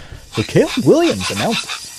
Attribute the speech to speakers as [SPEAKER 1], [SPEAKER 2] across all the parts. [SPEAKER 1] for Caleb Williams announces.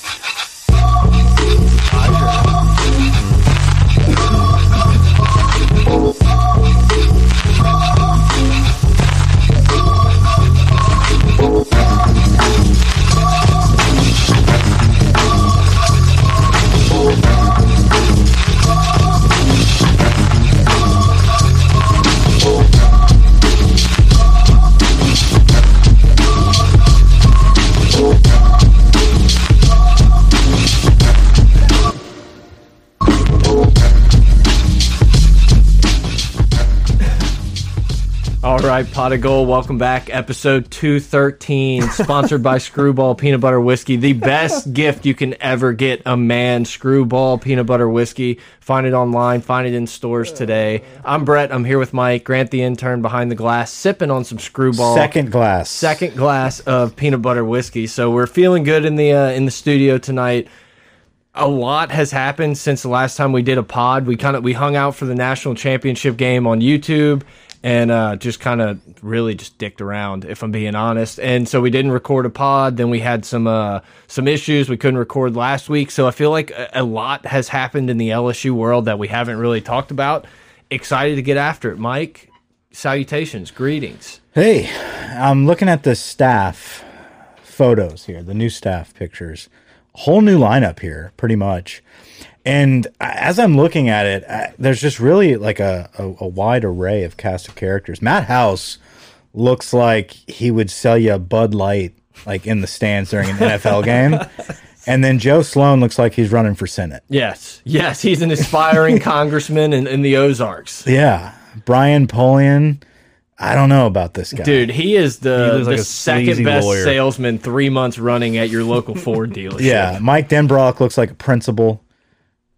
[SPEAKER 2] All right, Pot of Gold, welcome back. Episode 213, sponsored by Screwball Peanut Butter Whiskey, the best gift you can ever get a man. Screwball Peanut Butter Whiskey. Find it online, find it in stores today. I'm Brett. I'm here with Mike, Grant the intern behind the glass, sipping on some Screwball.
[SPEAKER 1] Second glass.
[SPEAKER 2] Second glass of peanut butter whiskey. So we're feeling good in the uh, in the studio tonight a lot has happened since the last time we did a pod. We kind of we hung out for the national championship game on YouTube and uh, just kind of really just dicked around, if I'm being honest. And so we didn't record a pod. Then we had some uh, some issues. We couldn't record last week. So I feel like a, a lot has happened in the LSU world that we haven't really talked about. Excited to get after it, Mike. Salutations, greetings.
[SPEAKER 1] Hey, I'm looking at the staff photos here, the new staff pictures. Whole new lineup here, pretty much. And I- as I'm looking at it, I, there's just really like a, a, a wide array of cast of characters. Matt House looks like he would sell you a Bud Light like in the stands during an NFL game. And then Joe Sloan looks like he's running for Senate.
[SPEAKER 2] Yes, yes, he's an aspiring congressman in, in the Ozarks.
[SPEAKER 1] Yeah. Brian Polian. I don't know about this guy.
[SPEAKER 2] Dude, he is the,
[SPEAKER 3] He looks
[SPEAKER 2] the
[SPEAKER 3] like a
[SPEAKER 2] second
[SPEAKER 3] sleazy
[SPEAKER 2] best
[SPEAKER 3] lawyer.
[SPEAKER 2] salesman three months running at your local Ford dealership.
[SPEAKER 1] Yeah, Mike Denbrock looks like a principal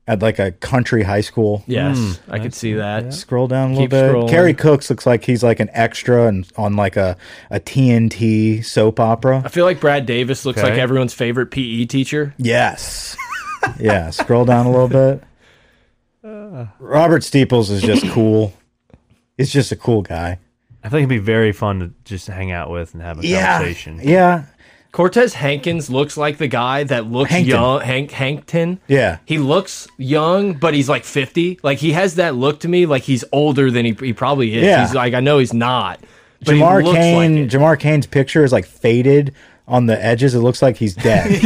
[SPEAKER 1] at like a country high school.
[SPEAKER 2] Yes,
[SPEAKER 3] Hmm.
[SPEAKER 2] I could see that.
[SPEAKER 1] Scroll down a little
[SPEAKER 2] Keep
[SPEAKER 1] bit.
[SPEAKER 2] scrolling.
[SPEAKER 1] Kerry Cooks looks like he's like an extra and on like a, a TNT soap
[SPEAKER 2] I
[SPEAKER 1] opera.
[SPEAKER 2] feel like Brad Davis looks like
[SPEAKER 3] Okay.
[SPEAKER 2] everyone's favorite PE teacher.
[SPEAKER 1] Yes. yeah, scroll down a little bit.
[SPEAKER 2] Uh.
[SPEAKER 1] Robert Steeples is just cool. He's just a cool guy.
[SPEAKER 3] I think it'd be very fun to just hang out with and have a conversation.
[SPEAKER 1] Yeah.
[SPEAKER 2] Cortez Hankins looks like the guy that looks
[SPEAKER 1] Hankton.
[SPEAKER 2] young. Hank Hankton.
[SPEAKER 1] Yeah.
[SPEAKER 2] He looks young, but he's like 50. Like he has that look to me like he's older than he, he probably is.
[SPEAKER 1] Yeah.
[SPEAKER 2] He's like, I know he's not. But he
[SPEAKER 1] Jamar
[SPEAKER 2] looks
[SPEAKER 1] Kane
[SPEAKER 2] Like it.
[SPEAKER 1] Jamar Kane's picture is like faded on the edges. It looks like he's dead.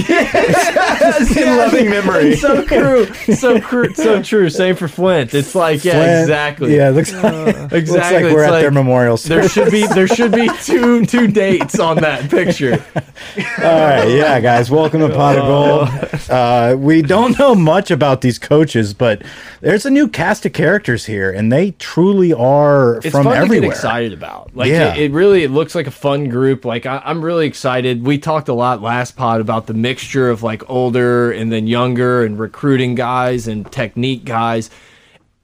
[SPEAKER 3] Loving memory.
[SPEAKER 2] so true. So true. So true. Same for Flint. It's like, yeah,
[SPEAKER 1] Flint-
[SPEAKER 2] exactly.
[SPEAKER 1] Yeah, it looks like, looks like
[SPEAKER 2] Exactly,
[SPEAKER 1] we're
[SPEAKER 2] it's
[SPEAKER 1] at their
[SPEAKER 2] like-
[SPEAKER 1] memorial.
[SPEAKER 2] There should be there should be two two dates on that picture.
[SPEAKER 1] All right, yeah, guys, welcome to Pot of
[SPEAKER 2] Oh.
[SPEAKER 1] Gold. Uh, we don't know much about these coaches, but there's a new cast of characters here, and they truly are
[SPEAKER 2] It's
[SPEAKER 1] from
[SPEAKER 2] fun to get
[SPEAKER 1] everywhere.
[SPEAKER 2] excited about. Like
[SPEAKER 1] Yeah.
[SPEAKER 2] it, it really it looks like a fun group. Like I, I'm really excited. We talked a lot last pod about the mixture of like older and then younger and recruiting guys and technique guys.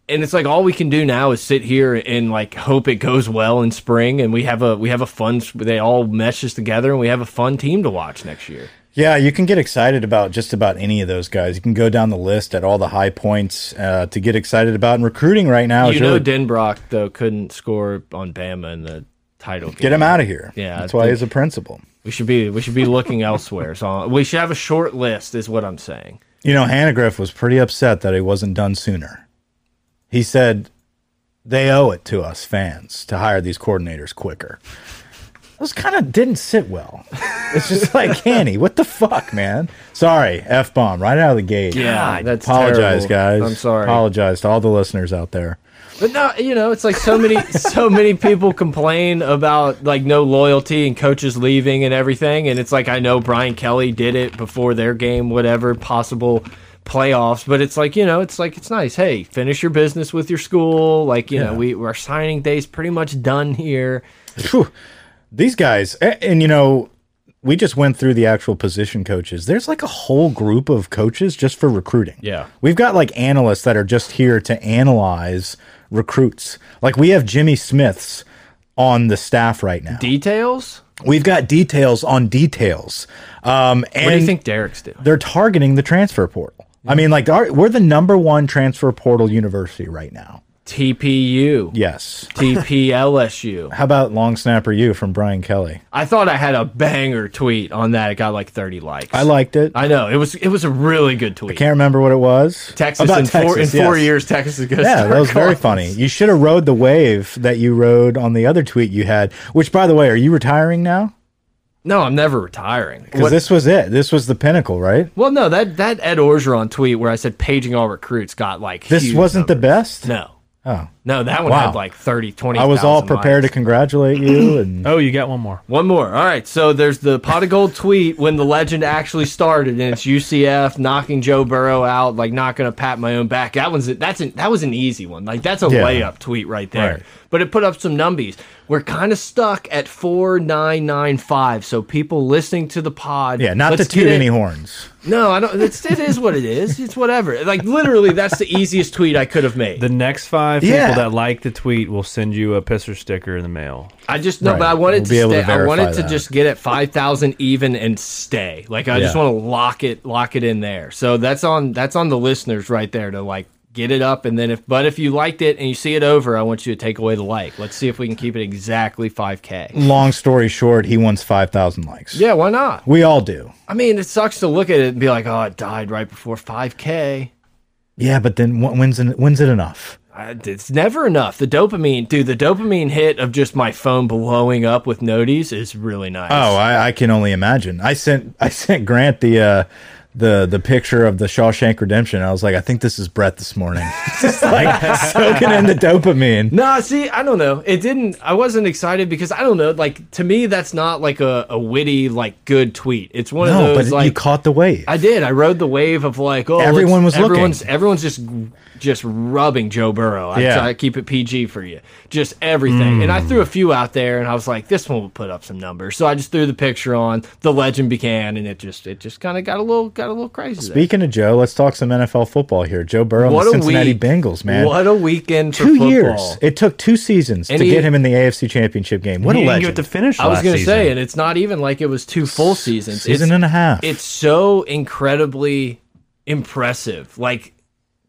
[SPEAKER 2] And it's like all we can do now is sit here and like hope it goes well in spring and we have a we have a fun they all meshes together and we have a fun team to watch next year.
[SPEAKER 1] Yeah, you can get excited about just about any of those guys. You can go down the list at all the high points uh, to get excited about. And recruiting right now is
[SPEAKER 2] You know
[SPEAKER 1] really
[SPEAKER 2] Denbrock though couldn't score on Bama in the title game.
[SPEAKER 1] get him out of here.
[SPEAKER 2] Yeah,
[SPEAKER 1] that's
[SPEAKER 2] I
[SPEAKER 1] why
[SPEAKER 2] think-
[SPEAKER 1] he's a principal.
[SPEAKER 2] We should be we should be looking elsewhere. So we should have a short list, is what I'm saying.
[SPEAKER 1] You know, Hannegriff was pretty upset that he wasn't done sooner. He said, they owe it to us fans to hire these coordinators quicker. Those kind of didn't sit well. It's just like, Hanny, what the fuck, man? Sorry, F bomb, right out of the gate.
[SPEAKER 2] God, that's
[SPEAKER 1] Apologize,
[SPEAKER 2] terrible.
[SPEAKER 1] guys.
[SPEAKER 2] I'm sorry.
[SPEAKER 1] Apologize to all the listeners out there.
[SPEAKER 2] But no, you know, it's like so many so many people complain about like no loyalty and coaches leaving and everything. And it's like I know Brian Kelly did it before their game, whatever possible playoffs. But it's like you know, it's like it's nice. Hey, finish your business with your school. Like you know, we our signing day's pretty much done here.
[SPEAKER 1] Phew. These guys, a- and you know, we just went through the actual position coaches. There's like a whole group of coaches just for recruiting.
[SPEAKER 2] Yeah.
[SPEAKER 1] We've got like analysts that are just here to analyze recruits. Like we have Jimmy Smiths on the staff right now.
[SPEAKER 2] Details?
[SPEAKER 1] We've got details on details. Um, and
[SPEAKER 2] What do you think Derek's doing?
[SPEAKER 1] they're targeting the transfer portal. I mean, like our, we're the number one transfer portal university right now.
[SPEAKER 2] TPU,
[SPEAKER 1] Yes.
[SPEAKER 2] TPLSU.
[SPEAKER 1] How about long snapper you from Brian Kelly?
[SPEAKER 2] I thought I had a banger tweet on that. It got like 30 likes.
[SPEAKER 1] I liked it. I
[SPEAKER 2] I know it was it was a really good tweet.
[SPEAKER 1] can't remember what it was.
[SPEAKER 2] Texas in four in four
[SPEAKER 1] yes.
[SPEAKER 2] years, Texas is gonna
[SPEAKER 1] Yeah,
[SPEAKER 2] start
[SPEAKER 1] that was very
[SPEAKER 2] calling-
[SPEAKER 1] funny. You should have rode the wave that you rode on the other tweet you had. Which, by the way, are you retiring now?
[SPEAKER 2] No, I'm never retiring.
[SPEAKER 1] Because
[SPEAKER 2] What-
[SPEAKER 1] this was it. This was the pinnacle, right?
[SPEAKER 2] well, no, that that Ed Orgeron tweet where I said paging all recruits got like
[SPEAKER 1] This
[SPEAKER 2] huge
[SPEAKER 1] wasn't the best.
[SPEAKER 2] numbers. no.
[SPEAKER 1] Oh.
[SPEAKER 2] No, that one
[SPEAKER 1] Wow.
[SPEAKER 2] had like 30, 20.
[SPEAKER 1] I was all
[SPEAKER 2] 1,000
[SPEAKER 1] prepared
[SPEAKER 2] likes.
[SPEAKER 1] to congratulate you, and
[SPEAKER 3] Oh, you got one more.
[SPEAKER 2] One more. All right. So there's the pot of gold tweet when the legend actually started, and it's UCF knocking Joe Burrow out, like not going to pat my own back. That one's that's an, that was an easy one. Like that's a
[SPEAKER 1] Yeah.
[SPEAKER 2] layup tweet right there.
[SPEAKER 1] Right.
[SPEAKER 2] But it put up some numbies. We're kind of stuck at four nine nine five. So people listening to the pod,
[SPEAKER 1] yeah, not
[SPEAKER 2] let's
[SPEAKER 1] to toot
[SPEAKER 2] get in-
[SPEAKER 1] any horns.
[SPEAKER 2] No, I don't. It's, it is what it is. It's whatever. Like literally, that's the easiest tweet I could have made.
[SPEAKER 3] The next five
[SPEAKER 1] Yeah.
[SPEAKER 3] people that like the tweet will send you a pisser sticker in the mail.
[SPEAKER 2] I just no,
[SPEAKER 1] Right.
[SPEAKER 2] but I wanted
[SPEAKER 1] We'll be able
[SPEAKER 2] to
[SPEAKER 1] to
[SPEAKER 2] stay. I wanted
[SPEAKER 1] verify
[SPEAKER 2] to
[SPEAKER 1] that.
[SPEAKER 2] just get at five thousand even and stay. Like I just
[SPEAKER 1] Yeah.
[SPEAKER 2] want to lock it, lock it in there. So that's on that's on the listeners right there to like get it up and then if but if you liked it and you see it over, I want you to take away the like. Let's see if we can keep it exactly five k.
[SPEAKER 1] Long story short, he wants five thousand likes.
[SPEAKER 2] Yeah, why not?
[SPEAKER 1] we all do.
[SPEAKER 2] I mean, it sucks to look at it and be like, oh, it died right before five k.
[SPEAKER 1] Yeah, but then wh- when's en- when's it enough?
[SPEAKER 2] I- It's never enough. The dopamine, dude. The dopamine hit of just my phone blowing up with noties is really nice.
[SPEAKER 1] Oh, I, I can only imagine. I sent I sent Grant the uh, the the picture of the Shawshank Redemption. I was like, I think this is Brett this morning, just like soaking in the dopamine.
[SPEAKER 2] Nah, see, I don't know. It didn't. I wasn't excited because I don't know. Like to me, that's not like a, a witty, like good tweet. It's one of
[SPEAKER 1] No,
[SPEAKER 2] those
[SPEAKER 1] but you
[SPEAKER 2] like
[SPEAKER 1] caught the wave.
[SPEAKER 2] I did. I rode the wave of like oh,
[SPEAKER 1] Everyone
[SPEAKER 2] it's-
[SPEAKER 1] was looking.
[SPEAKER 2] everyone's, Everyone's just just rubbing Joe Burrow. I
[SPEAKER 1] Yeah. Mm.
[SPEAKER 2] try to keep it PG for you. Just everything. And I threw a few out there, and I was like, this one will put up some numbers. So I just threw the picture on. The legend began, and it just it just kind of got a little got a little crazy. there.
[SPEAKER 1] Speaking of Joe, let's talk some NFL football here. Joe Burrow and
[SPEAKER 2] What
[SPEAKER 1] the
[SPEAKER 2] a
[SPEAKER 1] Cincinnati
[SPEAKER 2] week.
[SPEAKER 1] Bengals, man.
[SPEAKER 2] What a weekend! For
[SPEAKER 1] Two
[SPEAKER 2] football.
[SPEAKER 1] years. It took two seasons
[SPEAKER 2] And
[SPEAKER 1] to
[SPEAKER 2] he-
[SPEAKER 1] get him in the AFC Championship game. What
[SPEAKER 3] He
[SPEAKER 1] a
[SPEAKER 3] didn't
[SPEAKER 1] legend!
[SPEAKER 3] get to finish.
[SPEAKER 2] I was
[SPEAKER 3] going
[SPEAKER 2] gonna say, and it's not even like it was two full seasons.
[SPEAKER 1] Season
[SPEAKER 2] it's,
[SPEAKER 1] and a half.
[SPEAKER 2] It's so incredibly impressive. Like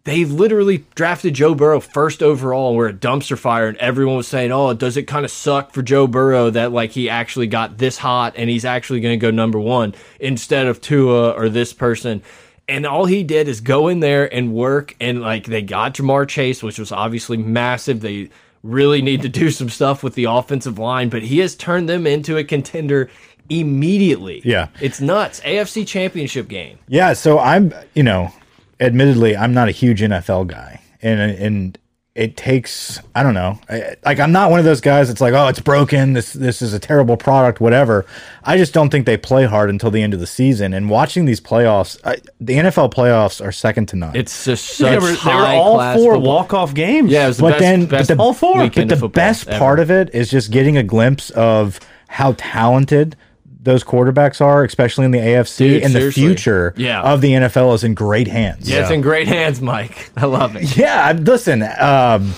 [SPEAKER 2] they literally drafted Joe Burrow first overall, and we're a dumpster fire, and everyone was saying, "Oh, does it kind of suck for Joe Burrow that like he actually got this hot and he's actually going to go number one instead of Tua or this person." And all he did is go in there and work, and like they got Jamar Chase, which was obviously massive. They really need to do some stuff with the offensive line, but he has turned them into a contender immediately.
[SPEAKER 1] Yeah.
[SPEAKER 2] it's nuts. AFC Championship game.
[SPEAKER 1] Yeah, so I'm, you know, admittedly, I'm not a huge NFL guy, and and it takes, I don't know, I, like I'm not one of those guys that's like, oh, it's broken, this this is a terrible product, whatever. I just don't think they play hard until the end of the season. And watching these playoffs, I, the NFL playoffs are second to none.
[SPEAKER 2] It's just such
[SPEAKER 3] They were, they were
[SPEAKER 2] high
[SPEAKER 3] all
[SPEAKER 2] class
[SPEAKER 3] four
[SPEAKER 2] football.
[SPEAKER 3] walk off games.
[SPEAKER 2] Yeah, it was the
[SPEAKER 1] but
[SPEAKER 2] best,
[SPEAKER 1] then
[SPEAKER 2] best
[SPEAKER 1] but the,
[SPEAKER 3] all four,
[SPEAKER 2] weekend
[SPEAKER 1] but
[SPEAKER 2] of
[SPEAKER 1] the
[SPEAKER 2] football
[SPEAKER 1] best
[SPEAKER 2] ever.
[SPEAKER 1] part of it is just getting a glimpse of how talented those quarterbacks are, especially in the AFC,
[SPEAKER 2] Dude,
[SPEAKER 1] and the
[SPEAKER 2] seriously.
[SPEAKER 1] future
[SPEAKER 2] Yeah.
[SPEAKER 1] of the NFL is in great hands.
[SPEAKER 2] Yeah, it's in great hands, Mike. I love it.
[SPEAKER 1] Yeah, I- listen, um,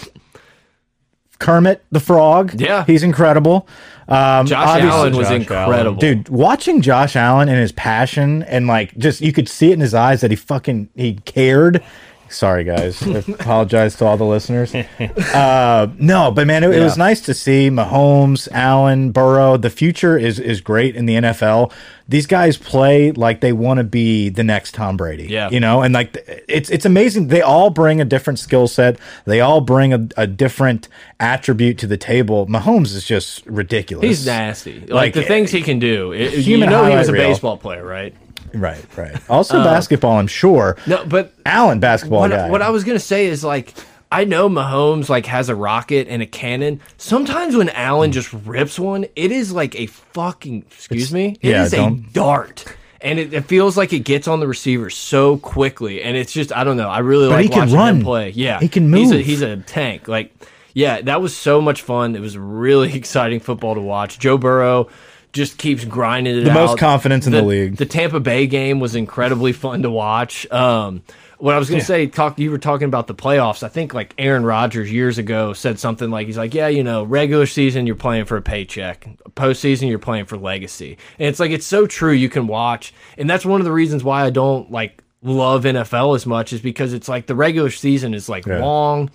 [SPEAKER 1] Kermit the Frog.
[SPEAKER 2] Yeah.
[SPEAKER 1] he's incredible. Um,
[SPEAKER 2] Josh
[SPEAKER 1] obviously-
[SPEAKER 2] Allen was
[SPEAKER 3] Josh Allen.
[SPEAKER 2] incredible.
[SPEAKER 1] dude. Watching Josh Allen and his passion and like just you could see it in his eyes that he fucking he cared. Sorry, guys. I apologize to all the listeners. Uh, no, but man, it, it was nice to see Mahomes, Allen, Burrow. The future is is great in the NFL. These guys play like they want to be the next Tom Brady.
[SPEAKER 2] Yeah.
[SPEAKER 1] you know know and like th- it's it's amazing they all bring a different skill set they all bring a, a different attribute to the table mahomes is just ridiculous
[SPEAKER 2] He's nasty. Like,
[SPEAKER 1] Like,
[SPEAKER 2] the things he can do. It- you
[SPEAKER 1] human
[SPEAKER 2] know he was a
[SPEAKER 1] highlight reel.
[SPEAKER 2] baseball player, right?
[SPEAKER 1] right right also basketball i'm sure
[SPEAKER 2] Uh, No, but
[SPEAKER 1] allen basketball
[SPEAKER 2] what,
[SPEAKER 1] guy
[SPEAKER 2] what I was gonna say is like I know Mahomes like has a rocket and a cannon. Sometimes when Allen just rips one, it is like a fucking excuse me. It is
[SPEAKER 1] yeah,
[SPEAKER 2] a
[SPEAKER 1] don't-
[SPEAKER 2] dart. And it, it feels like it gets on the receiver so quickly, and it's just I don't know. I really like
[SPEAKER 1] he can
[SPEAKER 2] watching him
[SPEAKER 1] run.
[SPEAKER 2] play. Yeah,
[SPEAKER 1] He can
[SPEAKER 2] He's a,
[SPEAKER 1] move.
[SPEAKER 2] he's a tank. Like, yeah, that was so much fun. It was really exciting football to watch. Joe Burrow just keeps grinding it
[SPEAKER 1] The most
[SPEAKER 2] out.
[SPEAKER 1] confidence in the league.
[SPEAKER 2] The Tampa Bay game was incredibly fun to watch. Um, what I was going to say, talk you were talking about the playoffs. I think like Aaron Rodgers years ago said something like he's like, yeah, you know, regular season you're playing for a paycheck, postseason you're playing for legacy, and it's like it's so true. You can watch, and that's one of the reasons why I don't like love NFL as much is because it's like the regular season is like long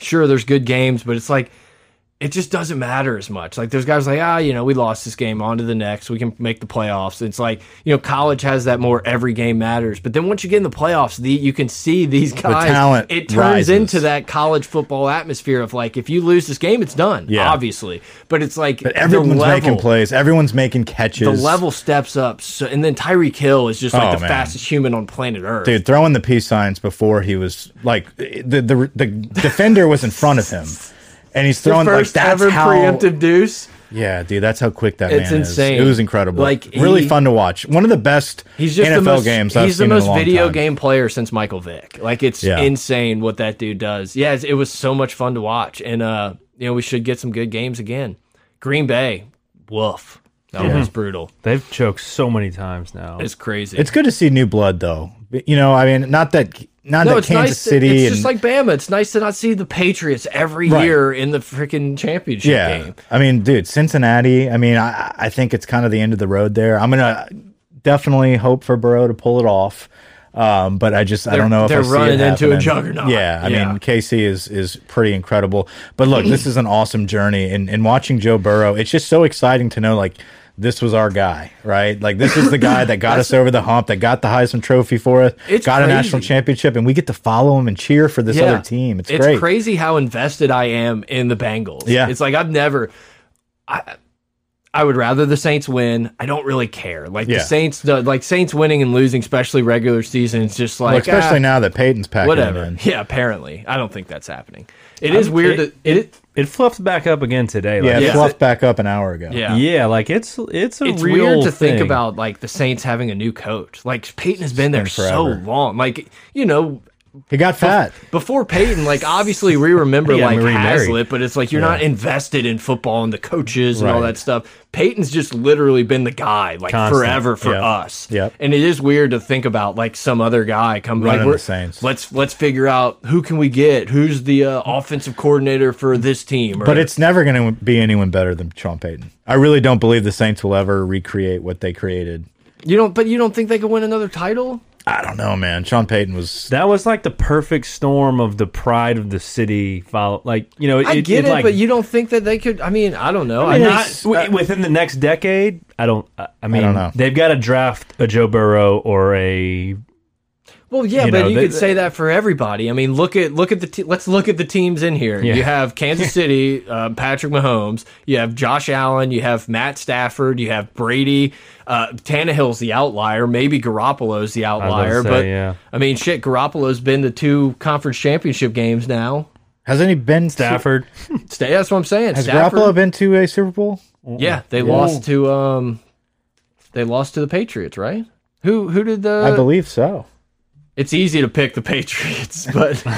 [SPEAKER 2] sure there's good games, but it's like it just doesn't matter as much. Like there's guys like, ah, you know, we lost this game, on to the next. We can make the playoffs. It's like, you know, college has that more every game matters. But then once you get in the playoffs, the you can see these guys
[SPEAKER 1] talent
[SPEAKER 2] it turns
[SPEAKER 1] rises.
[SPEAKER 2] into that college football atmosphere of like if you lose this game, it's done.
[SPEAKER 1] Yeah.
[SPEAKER 2] Obviously. But it's like
[SPEAKER 1] But everyone's making plays. Everyone's making catches.
[SPEAKER 2] the level steps up. So and then Tyree Kill is just like
[SPEAKER 1] Oh,
[SPEAKER 2] the
[SPEAKER 1] man.
[SPEAKER 2] fastest human on planet Earth.
[SPEAKER 1] Dude, throwing the peace signs before he was like the the, the defender was in front of him, and he's
[SPEAKER 2] the
[SPEAKER 1] throwing like
[SPEAKER 2] first
[SPEAKER 1] that's
[SPEAKER 2] ever
[SPEAKER 1] how
[SPEAKER 2] preemptive deuce.
[SPEAKER 1] yeah, dude, that's how quick that
[SPEAKER 2] It's
[SPEAKER 1] man
[SPEAKER 2] insane.
[SPEAKER 1] is. It was incredible,
[SPEAKER 2] Like,
[SPEAKER 1] like really
[SPEAKER 2] he-
[SPEAKER 1] fun to watch. One of the best
[SPEAKER 2] He's just
[SPEAKER 1] NFL
[SPEAKER 2] the most,
[SPEAKER 1] games.
[SPEAKER 2] He's
[SPEAKER 1] I've
[SPEAKER 2] the
[SPEAKER 1] seen in a
[SPEAKER 2] most
[SPEAKER 1] long
[SPEAKER 2] video
[SPEAKER 1] time.
[SPEAKER 2] game player since Michael Vick. Like it's
[SPEAKER 1] Yeah.
[SPEAKER 2] insane what that dude does. Yeah, it's- it was so much fun to watch, and uh, you know we should get some good games again. Green Bay, woof, that was brutal.
[SPEAKER 3] They've choked so many times now.
[SPEAKER 2] It's crazy.
[SPEAKER 1] It's good to see new blood though. You know, I mean, not that not
[SPEAKER 2] no,
[SPEAKER 1] that
[SPEAKER 2] it's
[SPEAKER 1] Kansas
[SPEAKER 2] nice.
[SPEAKER 1] City
[SPEAKER 2] it's
[SPEAKER 1] and
[SPEAKER 2] just like Bama. It's nice to not see the Patriots every
[SPEAKER 1] Right.
[SPEAKER 2] year in the freaking championship
[SPEAKER 1] yeah.
[SPEAKER 2] game.
[SPEAKER 1] I mean, dude, Cincinnati. I mean, I I think it's kind of the end of the road there. I'm gonna definitely hope for Burrow to pull it off. Um, but I just I don't know if
[SPEAKER 2] they're
[SPEAKER 1] I see it
[SPEAKER 2] running into a
[SPEAKER 1] happening.
[SPEAKER 2] juggernaut.
[SPEAKER 1] Yeah, I
[SPEAKER 2] Yeah.
[SPEAKER 1] mean KC is is pretty incredible. But look, this is an awesome journey, and and watching Joe Burrow, it's just so exciting to know like this was our guy, right? Like this is the guy that got us over the hump, that got the Heisman Trophy for us,
[SPEAKER 2] It's
[SPEAKER 1] got a national
[SPEAKER 2] crazy.
[SPEAKER 1] championship, and we get to follow him and cheer for this other team. It's, great.
[SPEAKER 2] crazy how invested I am in the Bengals.
[SPEAKER 1] Yeah.
[SPEAKER 2] It's like I've never I I would rather the Saints win. I don't really care. Like
[SPEAKER 1] Yeah.
[SPEAKER 2] the Saints the, like Saints winning and losing, especially regular season, it's just like
[SPEAKER 1] Well, especially
[SPEAKER 2] ah,
[SPEAKER 1] now that Peyton's packing
[SPEAKER 2] whatever.
[SPEAKER 1] him in.
[SPEAKER 2] Yeah, apparently. I don't think that's happening. It is weird
[SPEAKER 3] it-
[SPEAKER 2] that it,
[SPEAKER 3] it fluffed back up again today.
[SPEAKER 1] Yeah, it
[SPEAKER 3] Like,
[SPEAKER 2] Yeah.
[SPEAKER 1] fluffed back up an hour ago.
[SPEAKER 2] yeah.
[SPEAKER 3] yeah. like it's it's a
[SPEAKER 2] It's
[SPEAKER 3] real
[SPEAKER 2] weird to think
[SPEAKER 3] thing.
[SPEAKER 2] about like the Saints having a new coach. Like Peyton has been there so
[SPEAKER 1] forever.
[SPEAKER 2] long. Like, you know,
[SPEAKER 1] He got fat.
[SPEAKER 2] before Peyton, like obviously we remember
[SPEAKER 3] Yeah,
[SPEAKER 2] like
[SPEAKER 3] Marie Mary.
[SPEAKER 2] Haslett, but it's like you're not invested in football and the coaches and all
[SPEAKER 1] Right.
[SPEAKER 2] that stuff. Peyton's just literally been the guy like
[SPEAKER 3] Constant.
[SPEAKER 2] forever for
[SPEAKER 1] Yep.
[SPEAKER 2] us.
[SPEAKER 1] Yep.
[SPEAKER 2] And it is weird to think about like some other guy come like,
[SPEAKER 1] Running
[SPEAKER 2] we're-
[SPEAKER 1] the Saints.
[SPEAKER 2] Let's let's figure out who can we get, who's the uh, offensive coordinator for this team. Or,
[SPEAKER 1] But it's never going to be anyone better than Sean Payton. I really don't believe the Saints will ever recreate what they created.
[SPEAKER 2] you don't, but you don't think they could win another title?
[SPEAKER 1] I don't know, man. Sean Payton was
[SPEAKER 3] That was like the perfect storm of the pride of the city. Follow, like you know, it,
[SPEAKER 2] I
[SPEAKER 3] it-
[SPEAKER 2] get
[SPEAKER 3] it,
[SPEAKER 2] it,
[SPEAKER 3] like,
[SPEAKER 2] but you don't think that they could. I mean, I don't know.
[SPEAKER 3] I'm
[SPEAKER 2] I
[SPEAKER 3] not
[SPEAKER 2] think-
[SPEAKER 3] wi- within the next decade. I don't. I I mean,
[SPEAKER 1] Uh, don't know.
[SPEAKER 3] they've got to draft a Joe Burrow or a
[SPEAKER 2] Well, yeah,
[SPEAKER 3] You
[SPEAKER 2] but
[SPEAKER 3] know,
[SPEAKER 2] you
[SPEAKER 3] they-
[SPEAKER 2] could say that for everybody. I mean, look at look at the te let's look at the teams in here.
[SPEAKER 3] Yeah.
[SPEAKER 2] You have Kansas City, uh, Patrick Mahomes. You have Josh Allen. You have Matt Stafford. You have Brady. Uh, Tannehill's the outlier. Maybe Garoppolo's the outlier.
[SPEAKER 3] say,
[SPEAKER 2] but
[SPEAKER 3] yeah.
[SPEAKER 2] I mean, shit, Garoppolo's been to two conference championship games now.
[SPEAKER 1] has any been
[SPEAKER 3] Stafford.
[SPEAKER 2] Stay, that's what I'm saying.
[SPEAKER 1] Has
[SPEAKER 2] Stafford-
[SPEAKER 1] Garoppolo been to a Super Bowl?
[SPEAKER 2] Yeah, they lost to um, they lost to the Patriots, right? Who who did the?
[SPEAKER 1] I believe so.
[SPEAKER 2] it's easy to pick the Patriots, but.
[SPEAKER 1] No,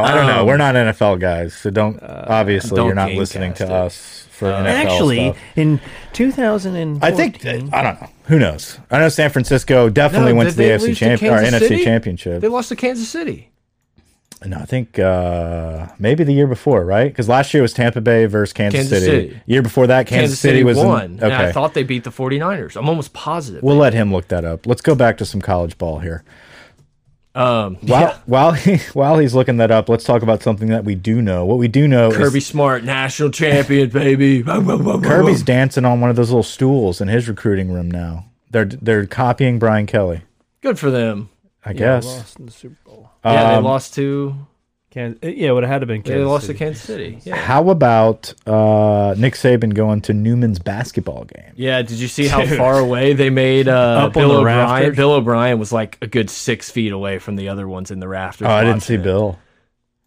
[SPEAKER 1] I don't know. We're not NFL guys, so don't. obviously,
[SPEAKER 2] Um, uh, don't
[SPEAKER 1] you're not
[SPEAKER 2] gamecast
[SPEAKER 1] listening to
[SPEAKER 2] it. Uh,
[SPEAKER 1] us for NFL stuff.
[SPEAKER 3] in 2014,
[SPEAKER 1] I think uh, I don't know. Who knows? I know San Francisco definitely
[SPEAKER 2] No,
[SPEAKER 1] went
[SPEAKER 2] did
[SPEAKER 1] to the
[SPEAKER 2] they
[SPEAKER 1] AFC
[SPEAKER 2] lose to
[SPEAKER 1] champ or
[SPEAKER 2] Kansas
[SPEAKER 1] NFC
[SPEAKER 2] City?
[SPEAKER 1] championship.
[SPEAKER 2] They lost to Kansas City.
[SPEAKER 1] No, I think uh, maybe the year before, right? Because last year was Tampa Bay versus Kansas,
[SPEAKER 2] Kansas
[SPEAKER 1] City.
[SPEAKER 2] City.
[SPEAKER 1] Year before that, Kansas,
[SPEAKER 2] Kansas City,
[SPEAKER 1] was in-
[SPEAKER 2] won. And I
[SPEAKER 1] okay,
[SPEAKER 2] thought they beat the 49ers. I'm almost positive.
[SPEAKER 1] we'll let him look that up. Let's go back to some college ball here.
[SPEAKER 2] um,
[SPEAKER 1] While
[SPEAKER 2] yeah.
[SPEAKER 1] while he, while he's looking that up, let's talk about something that we do know. What we do know
[SPEAKER 2] Kirby
[SPEAKER 1] is
[SPEAKER 2] Smart, national champion, baby. Whoa, whoa, whoa, whoa,
[SPEAKER 1] Kirby's
[SPEAKER 2] whoa.
[SPEAKER 1] dancing on one of those little stools in his recruiting room now. They're they're copying Brian Kelly,
[SPEAKER 2] good for them.
[SPEAKER 1] I guess.
[SPEAKER 3] lost in the Super Bowl.
[SPEAKER 2] Yeah, they
[SPEAKER 1] Um,
[SPEAKER 2] lost to
[SPEAKER 3] Kansas, uh, yeah, it would have had to been
[SPEAKER 2] they
[SPEAKER 3] Kansas.
[SPEAKER 2] lost
[SPEAKER 3] City.
[SPEAKER 2] to Kansas City. Yeah.
[SPEAKER 1] How about uh, Nick Saban going to Newman's basketball game?
[SPEAKER 2] Yeah, did you see how far away they made uh,
[SPEAKER 3] Up on
[SPEAKER 2] Bill
[SPEAKER 3] the
[SPEAKER 2] O'Brien?
[SPEAKER 3] rafters?
[SPEAKER 2] Bill O'Brien was like a good six feet away from the other ones in the rafters.
[SPEAKER 1] Oh, I didn't
[SPEAKER 2] watching
[SPEAKER 1] see
[SPEAKER 2] it.
[SPEAKER 1] Bill.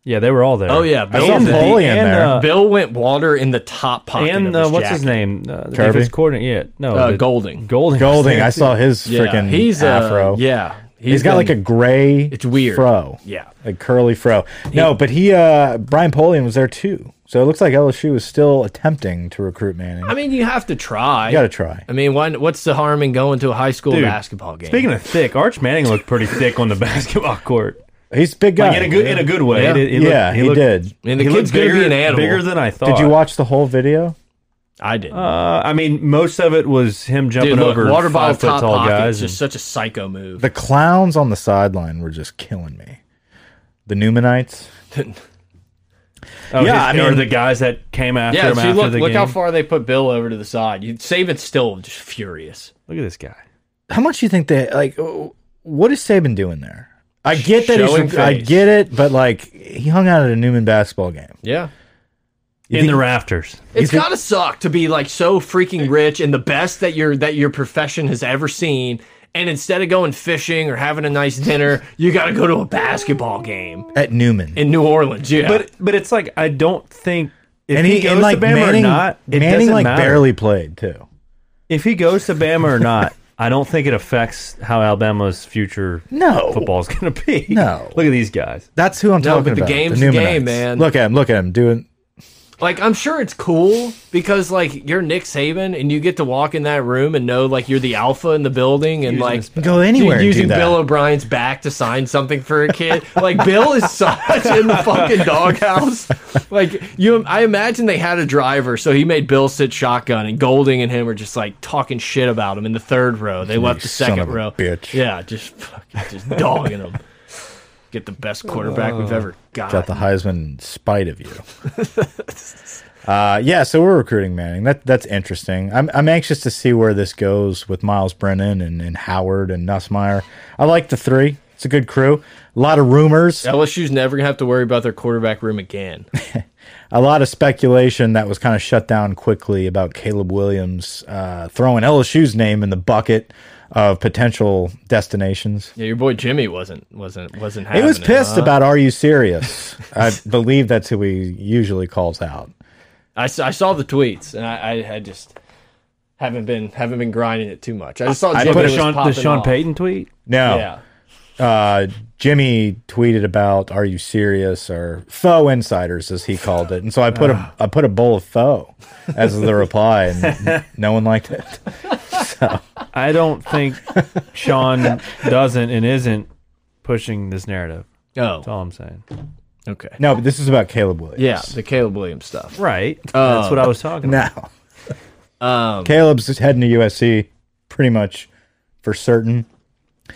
[SPEAKER 3] Yeah, they were all there.
[SPEAKER 2] Oh yeah,
[SPEAKER 1] I
[SPEAKER 2] Bill,
[SPEAKER 1] saw
[SPEAKER 3] And the-
[SPEAKER 1] Foley in
[SPEAKER 3] and,
[SPEAKER 1] there.
[SPEAKER 3] uh,
[SPEAKER 2] Bill went water in the top pocket.
[SPEAKER 3] and
[SPEAKER 2] of
[SPEAKER 3] uh,
[SPEAKER 2] his
[SPEAKER 3] what's his
[SPEAKER 2] jacket.
[SPEAKER 3] name? Uh, the
[SPEAKER 1] Kirby?
[SPEAKER 3] defense coordinator. Yeah, no,
[SPEAKER 2] Uh,
[SPEAKER 3] the-
[SPEAKER 2] Golding.
[SPEAKER 3] Golding. was
[SPEAKER 1] Golding,
[SPEAKER 3] there,
[SPEAKER 1] I
[SPEAKER 3] too.
[SPEAKER 1] saw his
[SPEAKER 2] Yeah,
[SPEAKER 1] freaking
[SPEAKER 2] he's uh,
[SPEAKER 1] afro.
[SPEAKER 2] Yeah,
[SPEAKER 1] he's got like a gray
[SPEAKER 2] It's weird.
[SPEAKER 1] fro.
[SPEAKER 2] yeah.
[SPEAKER 1] A curly fro. No, but he uh Brian Polian was there too. So it looks like LSU is still attempting to recruit Manning.
[SPEAKER 2] I mean, you have to try.
[SPEAKER 1] you gotta try.
[SPEAKER 2] I mean, why, what's the harm in going to a high school
[SPEAKER 3] Dude,
[SPEAKER 2] basketball game?
[SPEAKER 3] Speaking of thick, Arch Manning looked pretty thick on the basketball court.
[SPEAKER 1] He's a big guy.
[SPEAKER 3] Like in a good in a good way.
[SPEAKER 2] Yeah.
[SPEAKER 3] It- it
[SPEAKER 1] yeah,
[SPEAKER 3] looked-
[SPEAKER 1] he,
[SPEAKER 3] looked-
[SPEAKER 1] did.
[SPEAKER 2] I mean, the
[SPEAKER 3] he looked
[SPEAKER 2] kid's going to be
[SPEAKER 3] bigger-
[SPEAKER 2] an animal.
[SPEAKER 3] Bigger than I thought.
[SPEAKER 1] Did you watch the whole video?
[SPEAKER 2] I did. not
[SPEAKER 3] Uh, I mean, most of it was him jumping
[SPEAKER 2] Dude, look,
[SPEAKER 3] over
[SPEAKER 2] water bottle
[SPEAKER 3] five foot
[SPEAKER 2] top
[SPEAKER 3] tall
[SPEAKER 2] pocket
[SPEAKER 3] guys.
[SPEAKER 2] is
[SPEAKER 3] and-
[SPEAKER 2] just such a psycho move.
[SPEAKER 1] The clowns on the sideline were just killing me. The Newmanites. Yeah,
[SPEAKER 3] Oh, his-
[SPEAKER 1] I
[SPEAKER 3] or
[SPEAKER 1] mean-
[SPEAKER 3] the guys that came after
[SPEAKER 2] Yeah,
[SPEAKER 3] him
[SPEAKER 2] see,
[SPEAKER 3] after
[SPEAKER 2] look,
[SPEAKER 3] the
[SPEAKER 2] look
[SPEAKER 3] game.
[SPEAKER 2] how far they put Bill over to the side. You Saban's still just furious.
[SPEAKER 3] look at this guy.
[SPEAKER 1] How much do you think they like? uh, What is Saban doing there? I get that
[SPEAKER 2] Showing
[SPEAKER 1] he's. I
[SPEAKER 2] face.
[SPEAKER 1] get it, but like he hung out at a Newman basketball game.
[SPEAKER 2] Yeah,
[SPEAKER 1] You
[SPEAKER 3] in the
[SPEAKER 1] think-
[SPEAKER 3] rafters.
[SPEAKER 2] it's
[SPEAKER 1] think-
[SPEAKER 2] gotta suck to be like so freaking rich and the best that your that your profession has ever seen. And instead of going fishing or having a nice dinner, you got to go to a basketball game
[SPEAKER 1] at Newman.
[SPEAKER 2] in New Orleans. Yeah,
[SPEAKER 3] But but it's like I don't think if
[SPEAKER 1] and
[SPEAKER 3] he,
[SPEAKER 1] he,
[SPEAKER 3] goes
[SPEAKER 1] and like
[SPEAKER 3] to Bama
[SPEAKER 1] Manning,
[SPEAKER 3] or not, it
[SPEAKER 1] Manning
[SPEAKER 3] doesn't
[SPEAKER 1] like
[SPEAKER 3] matter.
[SPEAKER 1] barely played too.
[SPEAKER 3] If he goes to Bama or not, I don't think it affects how Alabama's future
[SPEAKER 1] No.
[SPEAKER 3] football is going to be.
[SPEAKER 1] No.
[SPEAKER 3] look at these guys.
[SPEAKER 1] That's who I'm
[SPEAKER 2] No,
[SPEAKER 1] talking
[SPEAKER 2] but the
[SPEAKER 1] about.
[SPEAKER 2] game's the
[SPEAKER 1] Newmanites.
[SPEAKER 2] game, man.
[SPEAKER 1] Look at him. Look at him doing.
[SPEAKER 2] Like I'm sure it's cool because like you're Nick Saban and you get to walk in that room and know like you're the alpha in the building and like
[SPEAKER 3] his
[SPEAKER 1] Go anywhere. and do
[SPEAKER 2] using
[SPEAKER 1] that.
[SPEAKER 2] Bill O'Brien's back to sign something for a kid. like Bill is such in the fucking doghouse. Like you, I imagine they had a driver, so he made Bill sit shotgun, and Golding and him are just like talking shit about him in the third row. They left the
[SPEAKER 1] son
[SPEAKER 2] second
[SPEAKER 1] of a
[SPEAKER 2] row.
[SPEAKER 1] bitch.
[SPEAKER 2] Yeah, just fucking just dogging him. Get the best quarterback
[SPEAKER 1] Uh,
[SPEAKER 2] we've ever got.
[SPEAKER 1] got the Heisman in spite of you. uh, yeah, so we're recruiting Manning. That that's interesting. I'm I'm anxious to see where this goes with Miles Brennan and, and Howard and Nussmeyer. I like the three. It's a good crew. A lot of rumors.
[SPEAKER 2] LSU's never gonna have to worry about their quarterback room again.
[SPEAKER 1] a lot of speculation that was kind of shut down quickly about Caleb Williams uh, throwing LSU's name in the bucket of potential destinations.
[SPEAKER 2] Yeah, your boy Jimmy wasn't wasn't wasn't
[SPEAKER 1] He
[SPEAKER 2] having Uh,
[SPEAKER 1] was pissed
[SPEAKER 2] huh?
[SPEAKER 1] about "Are you serious?" I believe that's who he usually calls out.
[SPEAKER 2] I, s- I saw the tweets and I, I I just haven't been haven't been grinding it too much. I just saw
[SPEAKER 3] I
[SPEAKER 2] Jimmy
[SPEAKER 3] put a
[SPEAKER 2] was
[SPEAKER 3] Sean, the
[SPEAKER 2] popping
[SPEAKER 3] Sean
[SPEAKER 2] off.
[SPEAKER 3] Payton tweet.
[SPEAKER 1] No,
[SPEAKER 2] Yeah.
[SPEAKER 1] uh, Jimmy tweeted about "Are you serious?" or "Faux insiders," as he called it, and so I put
[SPEAKER 2] Ah.
[SPEAKER 1] a I put a bowl of faux as the reply, and no one liked it.
[SPEAKER 3] I don't think Sean doesn't and isn't pushing this narrative.
[SPEAKER 2] Oh.
[SPEAKER 3] That's all I'm saying.
[SPEAKER 2] Okay.
[SPEAKER 1] No, but this is about Caleb Williams.
[SPEAKER 2] Yeah, the Caleb Williams stuff.
[SPEAKER 3] Right. That's what I was talking about.
[SPEAKER 1] Uh, Now,
[SPEAKER 2] Um,
[SPEAKER 1] Caleb's just heading to USC pretty much for certain.